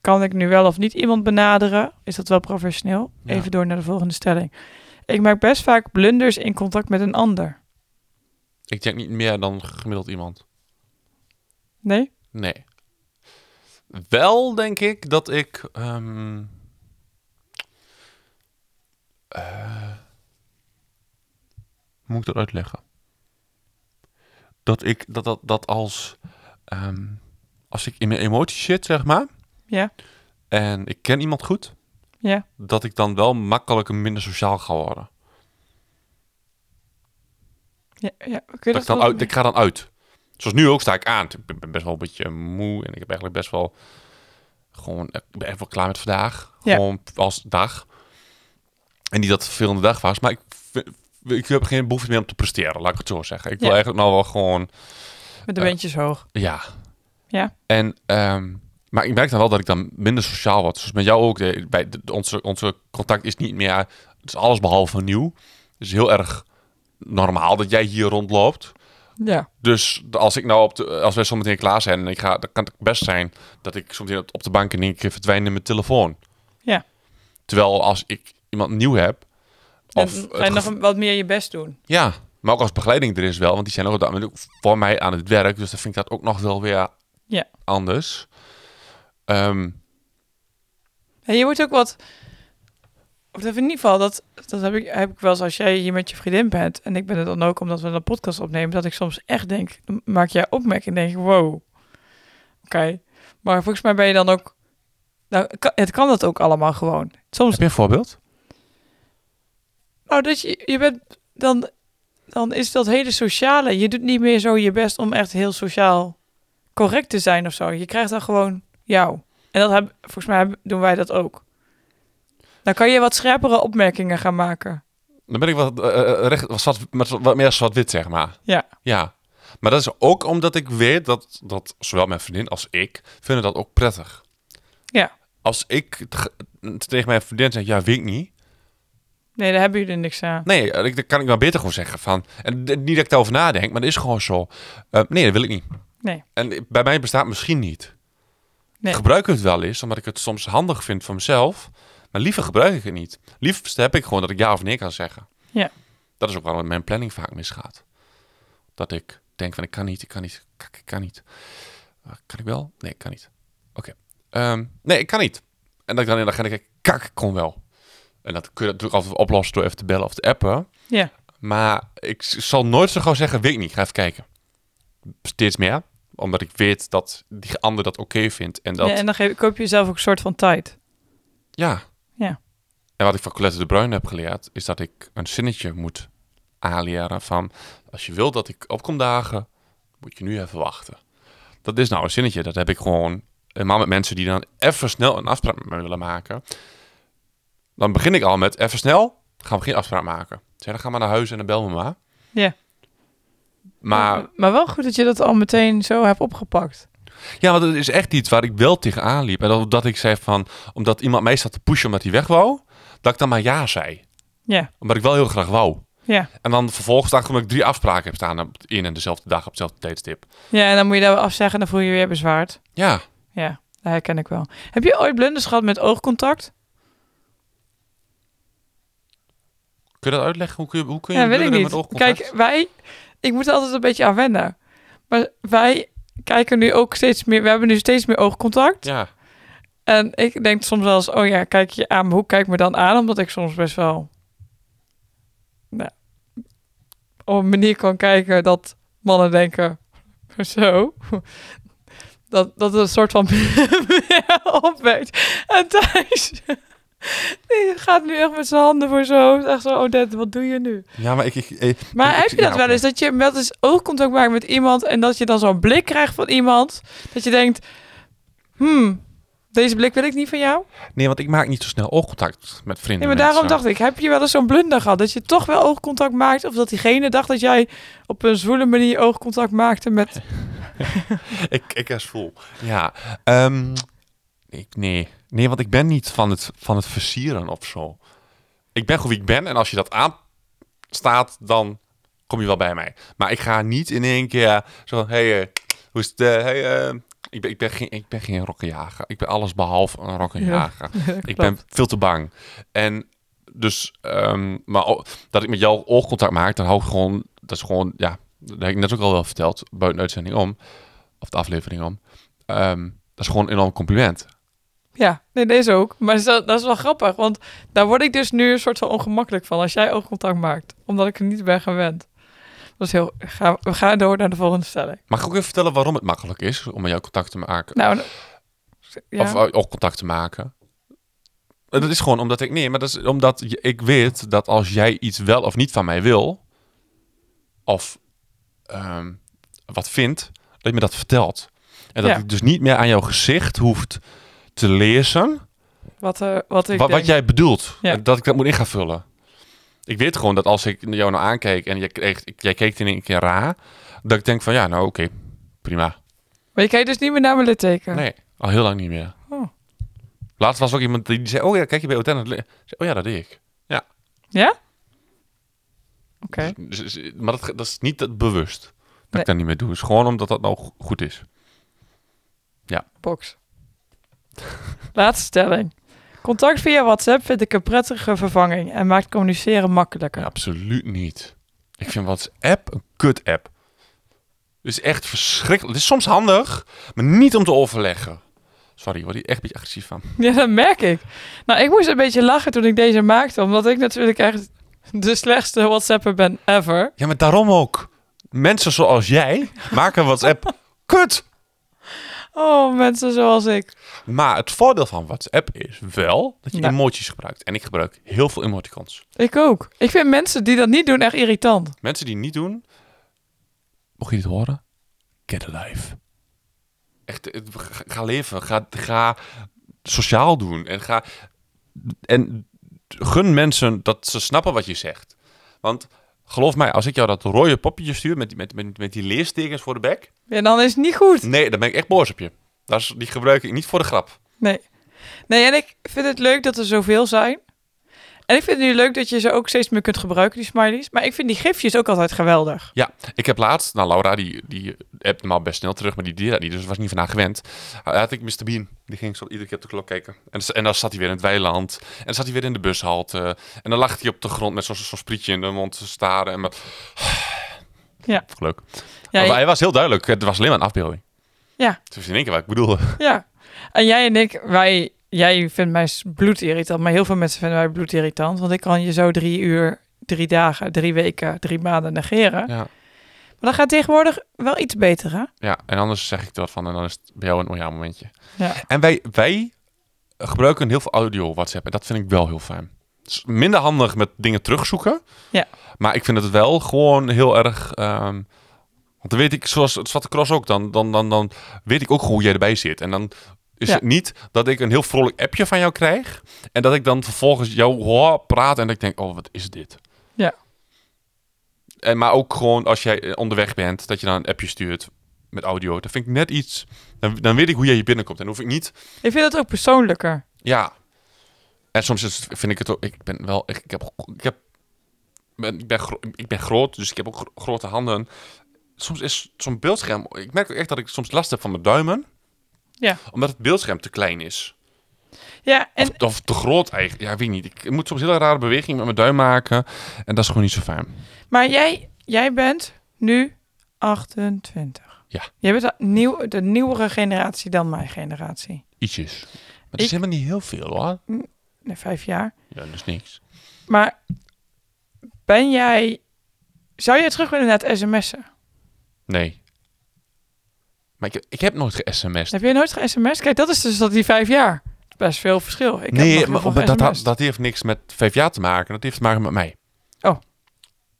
[SPEAKER 3] kan ik nu wel of niet iemand benaderen? Is dat wel professioneel?
[SPEAKER 1] Ja.
[SPEAKER 3] Even door naar de volgende stelling. Ik maak best vaak blunders in contact met een ander.
[SPEAKER 1] Ik denk niet meer dan gemiddeld iemand.
[SPEAKER 3] Nee?
[SPEAKER 1] Nee. Wel denk ik dat ik. ehm, eh, hoe moet ik dat uitleggen? Dat ik dat, dat, dat als. ehm, als ik in mijn emoties zit, zeg maar.
[SPEAKER 3] Ja?
[SPEAKER 1] En ik ken iemand goed.
[SPEAKER 3] Ja?
[SPEAKER 1] Dat ik dan wel makkelijker minder sociaal ga worden.
[SPEAKER 3] Ja? ja.
[SPEAKER 1] Dat
[SPEAKER 3] Kun je dat
[SPEAKER 1] ik, dan
[SPEAKER 3] wel-
[SPEAKER 1] uit, ik ga dan uit. Zoals nu ook sta ik aan. Ik ben- ben best wel een beetje moe en ik heb eigenlijk best wel gewoon eh, ik ben echt wel klaar met vandaag.
[SPEAKER 3] Ja.
[SPEAKER 1] Gewoon als dag. En niet dat het een vervelende dag was, maar ik, vind- ik heb geen behoefte meer om te presteren, laat ik het zo zeggen. Ik wil
[SPEAKER 3] Ja.
[SPEAKER 1] eigenlijk nou wel gewoon
[SPEAKER 3] Met de
[SPEAKER 1] eh,
[SPEAKER 3] beentjes hoog.
[SPEAKER 1] ja.
[SPEAKER 3] Ja.
[SPEAKER 1] En, ehm, maar ik merk dan wel dat ik dan minder sociaal word. Dus met jou ook. De, bij de- de- onze, onze contact is niet meer... Het is alles behalve nieuw. Het is heel erg normaal dat jij hier rondloopt.
[SPEAKER 3] Ja.
[SPEAKER 1] Dus de- als ik nou op de, als wij zometeen klaar zijn en ik ga, dan kan het best zijn dat ik soms op op de bank in één keer verdwijn in mijn telefoon.
[SPEAKER 3] Ja.
[SPEAKER 1] Terwijl als ik iemand nieuw heb, of
[SPEAKER 3] en
[SPEAKER 1] het
[SPEAKER 3] en nog
[SPEAKER 1] gevo-
[SPEAKER 3] een- wat meer je best doen.
[SPEAKER 1] ja, maar ook als begeleiding er is wel, want die zijn ook op dat moment ook voor mij aan het werk, dus dan vind ik dat ook nog wel weer
[SPEAKER 3] Ja.
[SPEAKER 1] anders. Ehm,
[SPEAKER 3] Ja, je wordt ook wat. Of dat in ieder geval, dat, dat heb, ik, heb ik wel eens als jij hier met je vriendin bent. En ik ben het dan ook omdat we een podcast opnemen. Dat ik soms echt denk, dan maak jij opmerking en denk ik, wow. Oké. Maar volgens mij ben je dan ook. Nou, ka- het kan dat ook allemaal gewoon. Soms.
[SPEAKER 1] heb je een voorbeeld?
[SPEAKER 3] Nou, dat je, je bent. Dan, dan is dat hele sociale. Je doet niet meer zo je best om echt heel sociaal correct te zijn of zo. Je krijgt dan gewoon jou. En dat heb, volgens mij heb- doen wij dat ook. Dan kan je wat scherpere opmerkingen gaan maken.
[SPEAKER 1] Dan ben ik wat, eh, eh, recht, wat, zwart- met wat meer zwart-wit, zeg maar.
[SPEAKER 3] Ja.
[SPEAKER 1] Ja. Maar dat is ook omdat ik weet dat, dat zowel mijn vriendin als ik vinden dat ook prettig.
[SPEAKER 3] Ja.
[SPEAKER 1] Als ik t- tegen mijn vriendin zeg, ja, weet ik niet.
[SPEAKER 3] Nee, daar hebben jullie niks aan.
[SPEAKER 1] Nee, eh, ik, dan kan ik maar beter gewoon zeggen van... En d- niet dat ik daarover nadenk, maar dat is gewoon zo. Eh, nee, dat wil ik niet.
[SPEAKER 3] Nee.
[SPEAKER 1] En bij mij bestaat misschien niet.
[SPEAKER 3] Nee.
[SPEAKER 1] Ik gebruik het wel eens, omdat ik het soms handig vind voor mezelf. Maar liever gebruik ik het niet. Liefst heb ik gewoon dat ik ja of nee kan zeggen.
[SPEAKER 3] Ja.
[SPEAKER 1] Dat is ook waarom mijn planning vaak misgaat. Dat ik denk van ik kan niet, ik kan niet, kak, ik kan niet. Eh, Kan ik wel? Nee, ik kan niet. Oké. Ehm, nee, ik kan niet. En dat ik dan in de agenda kijk, kak, ik kon wel. En dat kun je natuurlijk altijd oplossen door even te bellen of te appen.
[SPEAKER 3] Ja.
[SPEAKER 1] Maar ik s- zal nooit zo gauw zeggen, weet ik niet, ga even kijken. Steeds meer. omdat ik weet dat die ander dat oké vindt. En dat,
[SPEAKER 3] Ja, en dan geef, koop je jezelf ook een soort van tijd.
[SPEAKER 1] Ja.
[SPEAKER 3] Ja.
[SPEAKER 1] En wat ik van Colette de Bruin heb geleerd, is dat ik een zinnetje moet aanleren van... Als je wilt dat ik opkom dagen, moet je nu even wachten. Dat is nou een zinnetje. Dat heb ik gewoon... Helemaal met mensen die dan even snel een afspraak met me willen maken. Dan begin ik al met even snel, gaan we geen afspraak maken. Zeg, dan ga maar naar huis en dan bel me maar.
[SPEAKER 3] Ja.
[SPEAKER 1] Maar
[SPEAKER 3] maar wel goed dat je dat al meteen zo hebt opgepakt.
[SPEAKER 1] ja, want het is echt iets waar ik wel tegenaan liep. En dat, dat ik zei van, omdat iemand mij zat te pushen omdat hij weg wou, dat ik dan maar ja zei.
[SPEAKER 3] Ja,
[SPEAKER 1] Omdat ik wel heel graag wou.
[SPEAKER 3] ja.
[SPEAKER 1] En dan vervolgens dacht ik dat ik drie afspraken heb staan op één en dezelfde dag op dezelfde tijdstip.
[SPEAKER 3] Ja, en dan moet je daar weer afzeggen en dan voel je je weer bezwaard.
[SPEAKER 1] Ja.
[SPEAKER 3] Ja, dat herken ik wel. Heb je ooit blunders gehad met oogcontact?
[SPEAKER 1] Kun je dat uitleggen? Hoe kun je, hoe kun je
[SPEAKER 3] Ja, weet ik
[SPEAKER 1] kinderen met
[SPEAKER 3] niet.
[SPEAKER 1] oogcontact-
[SPEAKER 3] Kijk, wij... Ik moet er altijd een beetje aan wennen. Maar wij kijken nu ook steeds meer... We hebben nu steeds meer oogcontact.
[SPEAKER 1] Ja.
[SPEAKER 3] En ik denk soms wel eens... Oh ja, kijk je aan. Maar hoe kijk ik me dan aan? Omdat ik soms best wel... Nou, op een manier kan kijken dat mannen denken... Zo... Dat, dat het een soort van opweekt. En Thijs... Die gaat nu echt met zijn handen voor zijn hoofd. Echt zo, Odette, wat doe je nu?
[SPEAKER 1] Ja, maar ik... ik, ik- ik-
[SPEAKER 3] Maar heb je dat
[SPEAKER 1] ja,
[SPEAKER 3] wel eens? Dat je wel eens oogcontact maakt met iemand en dat je dan zo'n blik krijgt van iemand. Dat je denkt, hmm, deze blik wil ik niet van jou.
[SPEAKER 1] Nee, want ik maak niet zo snel oogcontact met vrienden.
[SPEAKER 3] Nee, maar daarom dacht ik, heb je wel eens zo'n blunder gehad? Dat je toch wel oogcontact maakt of dat diegene dacht dat jij op een zwoele manier oogcontact maakte met...
[SPEAKER 1] ik... Ik, ik is vol. Ja. ehm, ik, nee. Nee, want ik ben niet van het, van het versieren of zo. Ik ben gewoon wie ik ben en als je dat aanstaat, dan kom je wel bij mij. Maar ik ga niet in één keer zo van, hey, eh, hoe is het? eh, hey, eh, ik, ben, ik, ben geen, ik ben geen rokkenjager. Ik ben alles behalve een rokkenjager. Ik ben veel te bang. En dus, ehm, maar o- dat ik met jou oogcontact maak, dan hou ik gewoon, dat is gewoon, ja, dat heb ik net ook al wel verteld, buiten de uitzending om, of de aflevering om. Ehm, dat is gewoon een enorm compliment.
[SPEAKER 3] Ja, nee, deze ook. Maar is dat, dat is wel grappig, want daar word ik dus nu een soort van ongemakkelijk van als jij oogcontact maakt. Omdat ik er niet ben gewend. Dat is heel... Ga, we gaan door naar de volgende stelling.
[SPEAKER 1] Mag ik ook even vertellen waarom het makkelijk is om met jou contact te maken?
[SPEAKER 3] Nou, ja.
[SPEAKER 1] Of eh, ook contact te maken. En Dat is gewoon omdat ik, nee, maar dat is omdat je- ik weet dat als jij iets wel of niet van mij wil, of ehm, wat vindt, dat je me dat vertelt. En dat
[SPEAKER 3] Ja.
[SPEAKER 1] ik dus niet meer aan jouw gezicht hoeft te lezen
[SPEAKER 3] Wat, eh, wat ik
[SPEAKER 1] wat,
[SPEAKER 3] denk.
[SPEAKER 1] wat jij bedoelt.
[SPEAKER 3] Ja.
[SPEAKER 1] En Dat ik dat moet in gaan vullen. Ik weet gewoon dat als ik jou nou aankijk en jij, kreeg, ik- jij keek in een keer raar, dat ik denk van ja, nou oké, prima.
[SPEAKER 3] Maar je kijkt dus niet meer naar mijn litteken?
[SPEAKER 1] Nee, al heel lang niet meer.
[SPEAKER 3] Oh.
[SPEAKER 1] Laatst was ook iemand die die zei, oh ja, kijk je bij OTN. het li- Ik zei, Oh ja, dat deed ik.
[SPEAKER 3] Ja? Oké.
[SPEAKER 1] Dus- dus- maar dat, dat is niet dat bewust dat
[SPEAKER 3] Nee.
[SPEAKER 1] ik dat niet meer doe. Het is gewoon omdat dat nou go- goed is.
[SPEAKER 3] Box. Laatste stelling. Contact via WhatsApp vind ik een prettige vervanging en maakt communiceren makkelijker.
[SPEAKER 1] Ja, absoluut niet. Ik vind WhatsApp een kut-app. Het is echt verschrikkelijk. Het is soms handig, maar niet om te overleggen. Sorry, word je echt een beetje agressief van.
[SPEAKER 3] Ja, dat merk ik. Nou, ik moest een beetje lachen toen ik deze maakte, omdat ik natuurlijk echt de slechtste WhatsApper ben ever.
[SPEAKER 1] Ja, maar daarom ook. Mensen zoals jij maken WhatsApp kut.
[SPEAKER 3] Oh, mensen zoals ik.
[SPEAKER 1] Maar het voordeel van WhatsApp is wel dat je
[SPEAKER 3] Ja.
[SPEAKER 1] emoties gebruikt. En ik gebruik heel veel emoticons.
[SPEAKER 3] Ik ook. Ik vind mensen die dat niet doen echt irritant.
[SPEAKER 1] Mensen die het niet doen, mocht je dit horen? Get a life. Echt, het- ga- ga leven. Ga, ga sociaal doen. En, ga, en gun mensen dat ze snappen wat je zegt. Want geloof mij, als ik jou dat rode poppetje stuur met, die- met, met, met die leerstekens voor de bek.
[SPEAKER 3] Ja, dan is het niet goed.
[SPEAKER 1] Nee, dan ben ik echt boos op je. Dat is, die gebruik ik niet voor de grap.
[SPEAKER 3] Nee. Nee, en ik vind het leuk dat er zoveel zijn. En ik vind het nu leuk dat je ze ook steeds meer kunt gebruiken, die smileys. Maar ik vind die gifjes ook altijd geweldig.
[SPEAKER 1] Ja, ik heb laatst, nou Laura, die, die appt normaal best snel terug, maar die deed dat niet, dus was niet van haar gewend. eh, Had ik Mr. Bean, die ging zo iedere keer op de klok kijken. En, s- en dan zat hij weer in het weiland, en dan zat hij weer in de bushalte, en dan lag hij op de grond met zo'n zo'n sprietje in de mond te staren. En met...
[SPEAKER 3] Ja.
[SPEAKER 1] Vond ik Leuk.
[SPEAKER 3] Ja,
[SPEAKER 1] maar
[SPEAKER 3] ja,
[SPEAKER 1] hij was heel duidelijk, het was alleen maar een afbeelding.
[SPEAKER 3] Ja.
[SPEAKER 1] Dus in één keer wat ik bedoelde.
[SPEAKER 3] En jij en ik, wij, jij vindt mij s- bloedirritant. Maar heel veel mensen vinden mij bloedirritant. Want ik kan je zo drie uur, drie dagen, drie weken, drie maanden negeren.
[SPEAKER 1] Ja.
[SPEAKER 3] Maar dat gaat tegenwoordig wel iets beter, hè?
[SPEAKER 1] Ja, en anders zeg ik er wat van en dan is het bij jou een oh ja momentje.
[SPEAKER 3] Ja.
[SPEAKER 1] En wij, wij gebruiken heel veel audio WhatsApp en dat vind ik wel heel fijn. Het is minder handig met dingen terugzoeken.
[SPEAKER 3] Ja.
[SPEAKER 1] Maar ik vind het wel gewoon heel erg... ehm, want dan weet ik, zoals het Zwarte Cross ook, dan, dan, dan, dan weet ik ook gewoon hoe jij erbij zit. En dan is
[SPEAKER 3] Ja.
[SPEAKER 1] het niet dat ik een heel vrolijk appje van jou krijg en dat ik dan vervolgens jou hoor praten en dat ik denk, oh, wat is dit?
[SPEAKER 3] Ja.
[SPEAKER 1] En, maar ook gewoon als jij eh, onderweg bent, dat je dan een appje stuurt met audio. Dat vind ik net iets... Dan, dan weet ik hoe jij hier binnenkomt. En dan hoef ik niet
[SPEAKER 3] Ik vind het ook persoonlijker.
[SPEAKER 1] ja. En soms is, vind ik het ook. Ik ben wel. Ik, ik heb. Ik, heb ben, ik, ben gro- ik ben groot, dus ik heb ook gro- grote handen. Soms is zo'n beeldscherm. Ik merk ook echt dat ik soms last heb van mijn duimen.
[SPEAKER 3] Ja.
[SPEAKER 1] Omdat het beeldscherm te klein is.
[SPEAKER 3] Ja, en
[SPEAKER 1] of, of te groot eigenlijk. Ja, weet ik niet. Ik, moet soms hele rare bewegingen met mijn duim maken. En dat is gewoon niet zo fijn.
[SPEAKER 3] Maar jij, jij bent nu 28.
[SPEAKER 1] Ja.
[SPEAKER 3] Jij bent de, nieuw, de nieuwere generatie dan mijn generatie.
[SPEAKER 1] Ietsjes. Maar dat
[SPEAKER 3] Ik-
[SPEAKER 1] is helemaal niet heel veel hoor.
[SPEAKER 3] Nee, vijf jaar.
[SPEAKER 1] Ja, dat is niks.
[SPEAKER 3] Maar ben jij... Zou jij terug willen naar het sms'en?
[SPEAKER 1] Nee. Maar ik, ik heb nooit ge-sms'd.
[SPEAKER 3] Heb jij nooit ge-sms? Kijk, dat is dus dat die vijf jaar. Dat is Best veel verschil. Ik
[SPEAKER 1] nee,
[SPEAKER 3] heb nog
[SPEAKER 1] maar,
[SPEAKER 3] heel
[SPEAKER 1] maar
[SPEAKER 3] veel
[SPEAKER 1] dat, dat,
[SPEAKER 3] ge-sms'd.
[SPEAKER 1] dat heeft niks met vijf jaar te maken. Dat heeft te maken met mij.
[SPEAKER 3] Oh.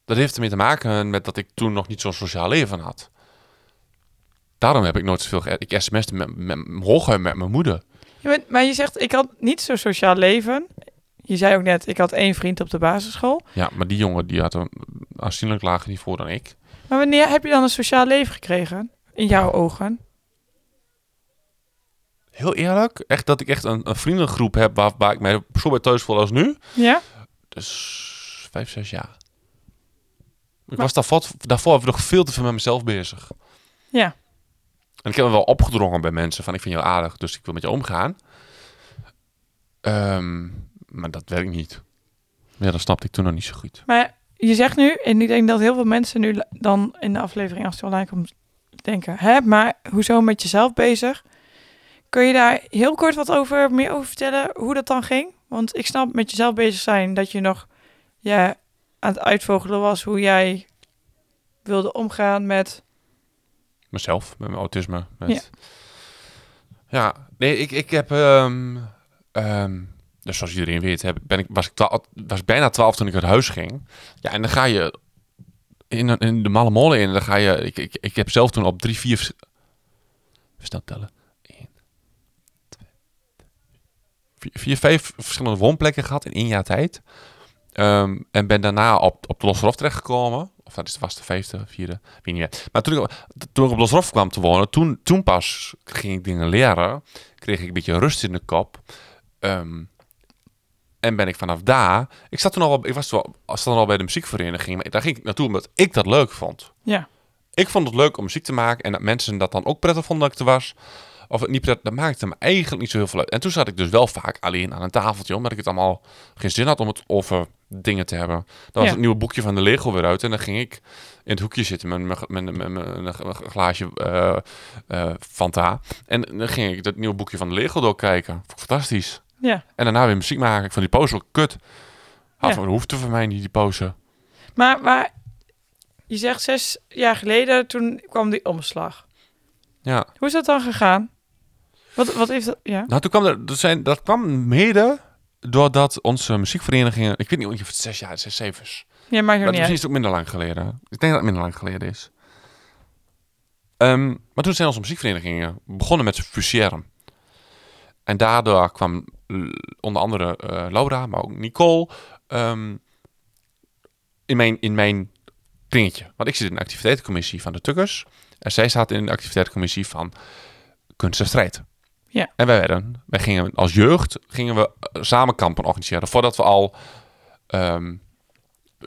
[SPEAKER 1] Dat heeft ermee te maken met dat ik toen nog niet zo'n sociaal leven had. Daarom heb ik nooit zoveel... ge- Ik sms'te met, met, hooguit met mijn moeder.
[SPEAKER 3] Je bent- maar je zegt, ik had niet zo'n sociaal leven. Je zei ook net, ik had één vriend op de basisschool.
[SPEAKER 1] Ja, maar die jongen die had een aanzienlijk lager niveau dan ik.
[SPEAKER 3] Maar wanneer heb je dan een sociaal leven gekregen? In jouw ogen?
[SPEAKER 1] Heel eerlijk, echt dat ik echt een, een vriendengroep heb... Waar, waar ik mij zo bij thuis voel als nu.
[SPEAKER 3] Ja?
[SPEAKER 1] Dus vijf, zes jaar. Ik was daarvoor, daarvoor nog veel te veel met mezelf bezig.
[SPEAKER 3] Ja.
[SPEAKER 1] En ik heb me wel opgedrongen bij mensen van ik vind jou aardig, dus ik wil met je omgaan. Ehm, maar dat werkt niet. Ja, dat snapte ik toen nog niet zo goed.
[SPEAKER 3] Maar je zegt nu, en ik denk dat heel veel mensen nu dan in de aflevering als die online komt denken, hè, maar hoezo met jezelf bezig? Kun je daar heel kort wat over, meer over vertellen hoe dat dan ging? Want ik snap met jezelf bezig zijn dat je nog ja, aan het uitvogelen was hoe jij wilde omgaan met...
[SPEAKER 1] Mezelf, met mijn autisme. Met...
[SPEAKER 3] Ja.
[SPEAKER 1] Ja. nee, ik, ik heb... ehm, ehm, dus zoals iedereen weet, heb, ben ik, was ik twa- was bijna twaalf toen ik uit huis ging. Ja, en dan ga je in, een- in de malle molen in. Dan ga je... Ik, ik, ik heb zelf toen op drie, vier... vers- Even snel tellen. Eén, twee, vier, vier, vijf verschillende woonplekken gehad in één jaar tijd. Ehm, en ben daarna op, op de Losrof terechtgekomen. Of dat is, was de vijfde, vierde, weet niet meer. Maar toen ik, toen ik op Losrof kwam te wonen, toen, toen pas ging ik dingen leren. Kreeg ik een beetje rust in de kop. Ehm, en ben ik vanaf daar... Ik, zat toen al, wel- ik was toen al, zat toen al bij de muziekvereniging. Maar daar ging ik naartoe omdat ik dat leuk vond
[SPEAKER 3] Ja,
[SPEAKER 1] ik vond het leuk om muziek te maken en dat mensen dat dan ook prettig vonden dat ik er was. Of het niet prettig, dat maakte me eigenlijk niet zo heel veel uit. En toen zat ik dus wel vaak alleen aan een tafeltje, omdat ik het allemaal geen zin had om het over dingen te hebben. Dan was
[SPEAKER 3] Ja.
[SPEAKER 1] het nieuwe boekje van de Lego weer uit en dan ging ik in het hoekje zitten met mijn- met- met- met een glaasje eh, eh, Fanta. En dan ging ik dat nieuwe boekje van de Lego doorkijken. Vond ik fantastisch.
[SPEAKER 3] ja.
[SPEAKER 1] En daarna weer muziek maken. Ik vond die pauze ook kut. Had
[SPEAKER 3] Ja.
[SPEAKER 1] van, hoefde voor mij niet die pauze.
[SPEAKER 3] Maar, maar je zegt zes jaar geleden, toen kwam die omslag.
[SPEAKER 1] Ja.
[SPEAKER 3] Hoe is dat dan gegaan? Wat, wat heeft dat... Ja?
[SPEAKER 1] Nou, toen kwam er, dat, zijn, dat kwam mede doordat onze muziekverenigingen... Ik weet niet of het zes jaar, zes, zeven is.
[SPEAKER 3] Ja, maakt ook
[SPEAKER 1] Maar
[SPEAKER 3] niet
[SPEAKER 1] misschien
[SPEAKER 3] uit.
[SPEAKER 1] is het ook minder lang geleden. Ik denk dat het minder lang geleden is. Ehm, maar toen zijn onze muziekverenigingen begonnen met fuseren. En daardoor kwam l- onder andere eh, Laura, maar ook Nicole... ehm, in, mijn, in mijn kringetje. Want ik zit in de activiteitencommissie van de Tukkers. En zij staat in de activiteitencommissie van Kunst en Strijd.
[SPEAKER 3] Ja.
[SPEAKER 1] En wij werden, wij gingen als jeugd gingen we eh, samen kampen organiseren. Voordat we al ehm,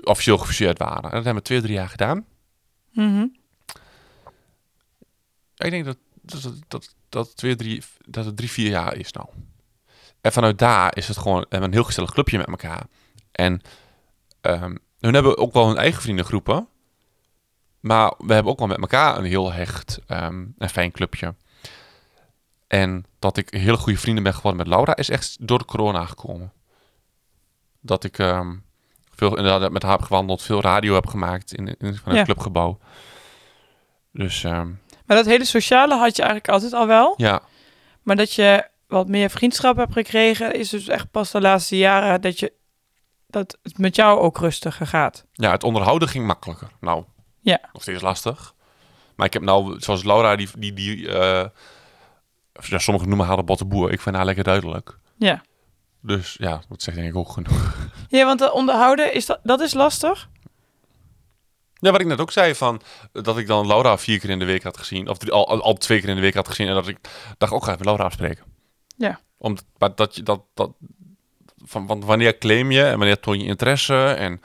[SPEAKER 1] officieel gefuseerd waren. En dat hebben we twee, drie jaar gedaan.
[SPEAKER 3] Mhm.
[SPEAKER 1] Ja, ik denk dat, dat, dat, dat, twee, drie, dat het drie, vier jaar is nou. En vanuit daar is het gewoon we hebben een heel gezellig clubje met elkaar. En ehm hun hebben ook wel hun eigen vriendengroepen. Maar we hebben ook wel met elkaar een heel hecht ehm, en fijn clubje. En dat ik hele goede vrienden ben geworden met Laura is echt door de corona gekomen. Dat ik ehm, veel inderdaad met haar heb gewandeld, veel radio heb gemaakt in, in, vanuit
[SPEAKER 3] Ja.
[SPEAKER 1] het clubgebouw. Dus ehm,
[SPEAKER 3] Maar dat hele sociale had je eigenlijk altijd al wel.
[SPEAKER 1] ja,
[SPEAKER 3] Maar dat je wat meer vriendschap hebt gekregen, is dus echt pas de laatste jaren dat, je, dat het met jou ook rustiger gaat.
[SPEAKER 1] ja, het onderhouden ging makkelijker. Nou,
[SPEAKER 3] Ja.
[SPEAKER 1] nog steeds lastig. Maar ik heb nou, zoals Laura, die, die, die eh, of ja, sommigen noemen haar de botte boer. Ik vind haar lekker duidelijk.
[SPEAKER 3] Ja.
[SPEAKER 1] Dus ja, dat zegt denk ik ook genoeg.
[SPEAKER 3] Ja, want dat onderhouden, is dat, dat is lastig.
[SPEAKER 1] Ja, wat ik net ook zei, van, eh, dat ik dan Laura vier keer in de week had gezien. Of drie- al, al, al twee keer in de week had gezien. En dat ik dacht, ook ga ik met Laura afspreken.
[SPEAKER 3] Ja.
[SPEAKER 1] Om, maar dat je dat... dat van, want wanneer claim je en wanneer toon je interesse en...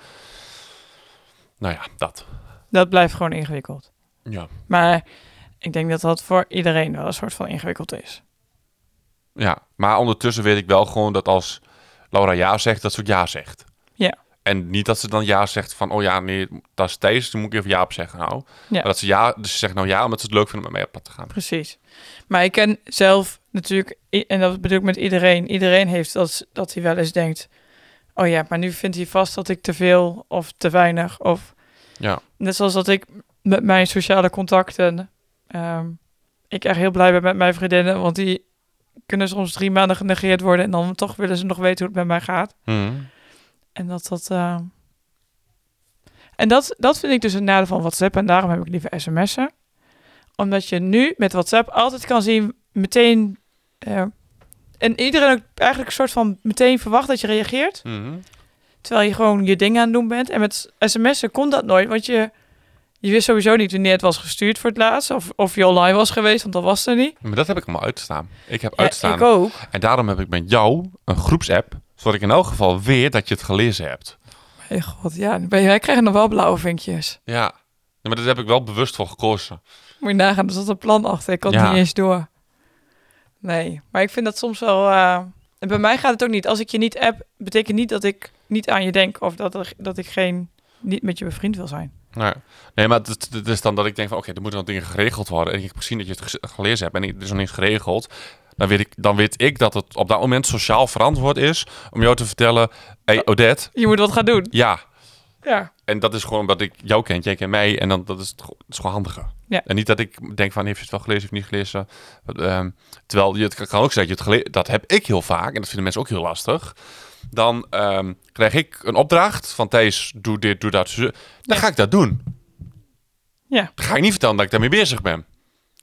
[SPEAKER 1] Nou ja, dat.
[SPEAKER 3] Dat blijft gewoon ingewikkeld.
[SPEAKER 1] Ja.
[SPEAKER 3] Maar ik denk dat dat voor iedereen wel een soort van ingewikkeld is.
[SPEAKER 1] Ja, maar ondertussen weet ik wel gewoon dat als Laura ja zegt, dat ze ook ja zegt.
[SPEAKER 3] Ja.
[SPEAKER 1] En niet dat ze dan ja zegt van, oh ja, nee, dat is Thijs, dan moet ik even ja op zeggen. Nou, maar dat ze ja, dus ze zegt nou ja, omdat ze het leuk vindt om met mij op pad te gaan.
[SPEAKER 3] Precies. Maar ik ken zelf natuurlijk, i- en dat bedoel ik met iedereen, iedereen heeft dat, dat hij wel eens denkt, oh ja, maar nu vindt hij vast dat ik te veel of te weinig. Of
[SPEAKER 1] Ja.
[SPEAKER 3] net zoals dat ik met mijn sociale contacten, ehm, ik echt heel blij ben met mijn vriendinnen, want die kunnen soms drie maanden genegeerd worden en dan toch willen ze nog weten hoe het met mij gaat. En dat dat... ehm, En dat, dat vind ik dus een nadeel van WhatsApp. En daarom heb ik liever sms'en. Omdat je nu met WhatsApp altijd kan zien meteen... eh, en iedereen ook eigenlijk een soort van meteen verwacht dat je reageert. Terwijl je gewoon je ding aan het doen bent. En met sms'en kon dat nooit. Want je, je wist sowieso niet wanneer het was gestuurd voor het laatst. Of, of je online was geweest, want dat was er niet.
[SPEAKER 1] Maar dat heb ik allemaal uitstaan. Ik heb
[SPEAKER 3] Ja,
[SPEAKER 1] uitstaan.
[SPEAKER 3] ik ook.
[SPEAKER 1] En daarom heb ik met jou een groepsapp, zodat ik in elk geval weet dat je het gelezen hebt.
[SPEAKER 3] Hey Eh, god, ja. dan ben je- Wij krijgen nog wel blauwe vinkjes.
[SPEAKER 1] Ja. Ja, maar daar heb ik wel bewust voor gekozen.
[SPEAKER 3] Moet je nagaan, er zat een plan achter. Ik had het
[SPEAKER 1] Ja.
[SPEAKER 3] niet eens door. Nee, maar ik vind dat soms wel... eh, en bij mij gaat het ook niet. Als ik je niet app, betekent niet dat ik niet aan je denk... of dat, er, dat ik geen, niet met je bevriend wil zijn.
[SPEAKER 1] Nee, nee maar het, is- het is dan dat ik denk van... Oké, er moeten nog dingen geregeld worden. En ik heb gezien dat je het gez- gelezen hebt en ik- er is nog niks geregeld. Dan weet, ik, dan weet ik dat het op dat moment sociaal verantwoord is... om jou te vertellen... hey, Odette,
[SPEAKER 3] Je moet wat gaan doen.
[SPEAKER 1] ja.
[SPEAKER 3] Ja.
[SPEAKER 1] En dat is gewoon omdat ik jou kent, jij kent mij. En dan, dat, is het, go- het is gewoon handiger.
[SPEAKER 3] Ja.
[SPEAKER 1] En niet dat ik denk van... Heeft je het wel gelezen of niet gelezen? Ehm, terwijl je, het kan- kan ook zijn dat je het gelezen... Dat heb ik heel vaak. En dat vinden mensen ook heel lastig. Dan ehm, krijg ik een opdracht van Thijs... Doe dit, doe dat. zo- Dan
[SPEAKER 3] Ja.
[SPEAKER 1] ga ik dat doen.
[SPEAKER 3] Ja,
[SPEAKER 1] ga ik niet vertellen dat ik daarmee bezig ben.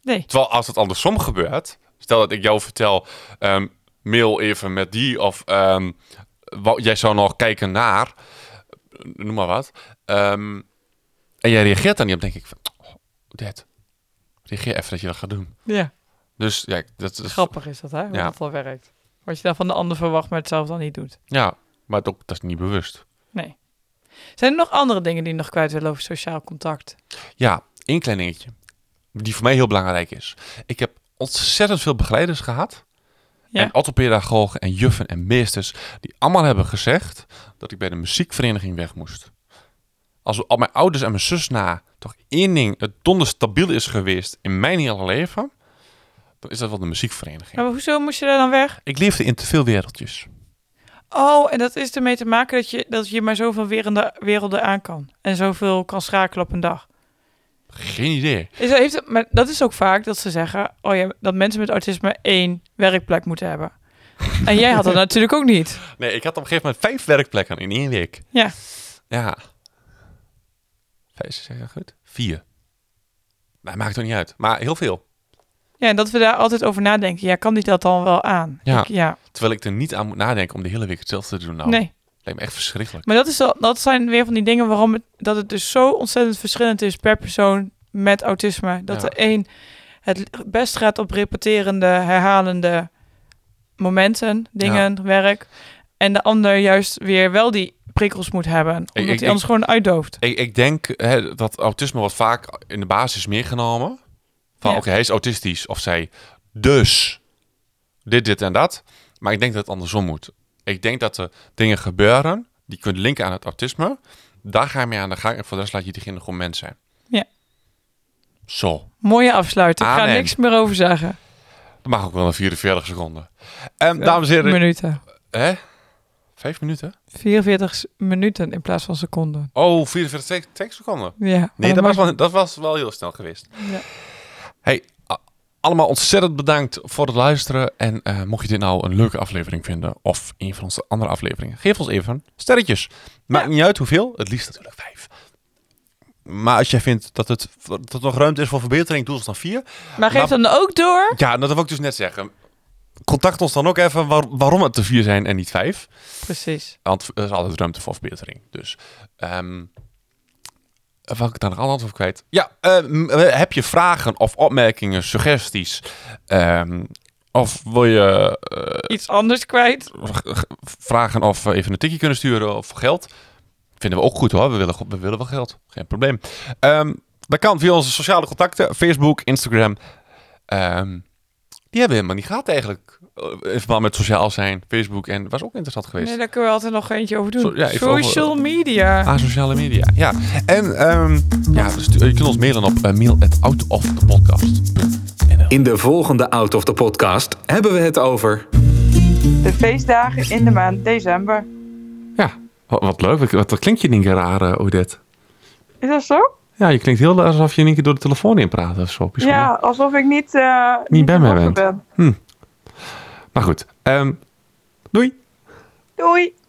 [SPEAKER 3] nee.
[SPEAKER 1] Terwijl als het andersom gebeurt, stel dat ik jou vertel, ehm, mail even met die of ehm, wa- jij zou nog kijken naar, eh, noem maar wat. Ehm, en jij reageert dan niet op, denk ik van, oh, dit, reageer even dat je dat gaat doen.
[SPEAKER 3] Ja.
[SPEAKER 1] Dus ja, dat is
[SPEAKER 3] Grappig is dat, hè? Hoe
[SPEAKER 1] Ja.
[SPEAKER 3] dat al werkt. Wat je dan van de ander verwacht, maar het zelf dan niet doet.
[SPEAKER 1] Ja, maar het ook, dat is niet bewust.
[SPEAKER 3] Nee. Zijn er nog andere dingen die je nog kwijt willen over sociaal contact?
[SPEAKER 1] Ja, één klein dingetje, die voor mij heel belangrijk is. Ik heb ontzettend veel begeleiders gehad.
[SPEAKER 3] Ja.
[SPEAKER 1] En orthopedagogen en juffen en meesters die allemaal hebben gezegd dat ik bij de muziekvereniging weg moest. Als al mijn ouders en mijn zus na toch één ding het donder stabiel is geweest in mijn hele leven, dan is dat wel de muziekvereniging.
[SPEAKER 3] Maar hoezo moest je daar dan weg?
[SPEAKER 1] Ik leefde in te veel wereldjes.
[SPEAKER 3] Oh, en dat is ermee te maken dat je, dat je maar zoveel werelden, werelden aan kan. En zoveel kan schakelen op een dag.
[SPEAKER 1] Geen idee.
[SPEAKER 3] Is, heeft, het- maar dat is ook vaak dat ze zeggen... Oh ja, dat mensen met autisme één werkplek moeten hebben. En jij had dat natuurlijk ook niet.
[SPEAKER 1] Nee, ik had op een gegeven moment vijf werkplekken in één week.
[SPEAKER 3] Ja.
[SPEAKER 1] Ja. Vijf, zeg ik dat goed? Vier. Nou, maakt toch niet uit. Maar heel veel.
[SPEAKER 3] Ja, en dat we daar altijd over nadenken. Ja, kan die dat dan wel aan?
[SPEAKER 1] Ja.
[SPEAKER 3] Ik- ja.
[SPEAKER 1] Terwijl ik er niet aan moet nadenken om de hele week hetzelfde te doen. Nou,
[SPEAKER 3] Nee.
[SPEAKER 1] lijkt me echt verschrikkelijk.
[SPEAKER 3] Maar dat, is wel, dat zijn weer van die dingen waarom het, dat het dus zo ontzettend verschillend is per persoon met autisme. Dat
[SPEAKER 1] Ja.
[SPEAKER 3] de een het best gaat op repeterende, herhalende momenten, dingen, werk. En de ander juist weer wel die prikkels moet hebben. Omdat
[SPEAKER 1] ik-
[SPEAKER 3] hij
[SPEAKER 1] ik-
[SPEAKER 3] anders gewoon uitdooft.
[SPEAKER 1] Ik, ik denk hè, dat autisme wordt vaak in de basis meegenomen. Van
[SPEAKER 3] Ja.
[SPEAKER 1] oké, hij is autistisch of zij. Dus dit, dit en dat. Maar ik denk dat het andersom moet. Ik denk dat er dingen gebeuren die je kunt linken aan het autisme. Daar ga je mee aan de gang en voor de rest laat je diegene gewoon mens zijn.
[SPEAKER 3] Ja.
[SPEAKER 1] Zo.
[SPEAKER 3] Mooie afsluiting. Ik ga
[SPEAKER 1] Amen.
[SPEAKER 3] niks meer over zeggen.
[SPEAKER 1] Dat mag ook wel een 44 seconden. En Ehm, dames en heren,
[SPEAKER 3] Minuten.
[SPEAKER 1] hè? Vijf minuten?
[SPEAKER 4] 44 minuten in plaats van seconden.
[SPEAKER 1] Oh, 44 sec- sec- seconden.
[SPEAKER 4] Ja. maar
[SPEAKER 1] Nee, dat was, wel, dat was wel heel snel geweest.
[SPEAKER 4] Ja.
[SPEAKER 1] Hey, a- allemaal ontzettend bedankt voor het luisteren. En eh, mocht je dit nou een leuke aflevering vinden, of een van onze andere afleveringen, geef ons even sterretjes. Maakt niet uit hoeveel, het liefst natuurlijk vijf. Maar als jij vindt dat het, dat er nog ruimte is voor verbetering, doe ons dan vier.
[SPEAKER 3] Maar geef dan ook door.
[SPEAKER 1] Ja, dat wil ik dus net zeggen. Contact ons dan ook even waar- waarom het er vier zijn en niet vijf.
[SPEAKER 4] Precies.
[SPEAKER 1] Want er is altijd ruimte voor verbetering. Dus, ehm wat ik daar nog anders over kwijt? Ja, ehm, eh, heb je vragen of opmerkingen, suggesties? Ehm, of wil je eh,
[SPEAKER 4] Iets anders kwijt.
[SPEAKER 1] g- g- vragen of we even een tikje kunnen sturen of geld? Vinden we ook goed hoor, we willen, go- we willen wel geld. Geen probleem. Ehm, dat kan via onze sociale contacten, Facebook, Instagram. Ehm, die hebben we helemaal niet gehad eigenlijk. Eh, In verband met sociaal zijn, Facebook en was ook interessant geweest.
[SPEAKER 4] Nee, daar kunnen we altijd nog eentje over doen.
[SPEAKER 1] Zo- ja, even
[SPEAKER 4] Social media.
[SPEAKER 1] Aan sociale media, ja. En ehm, ja, dus, je kunt ons mailen op uh, mail at
[SPEAKER 2] In de volgende Out of the Podcast hebben we het over
[SPEAKER 3] De feestdagen in de maand december.
[SPEAKER 1] Ja, wat, wat leuk. Wat, wat klinkt je in één keer raar, eh, Odette?
[SPEAKER 3] Is dat zo?
[SPEAKER 1] Ja, je klinkt heel alsof je in één keer door de telefoon in praat of zo. Bijzonder.
[SPEAKER 3] Ja, alsof ik niet... eh,
[SPEAKER 1] bij mij
[SPEAKER 3] betrokken
[SPEAKER 1] bent. Maar goed, ehm, doei!
[SPEAKER 3] Doei.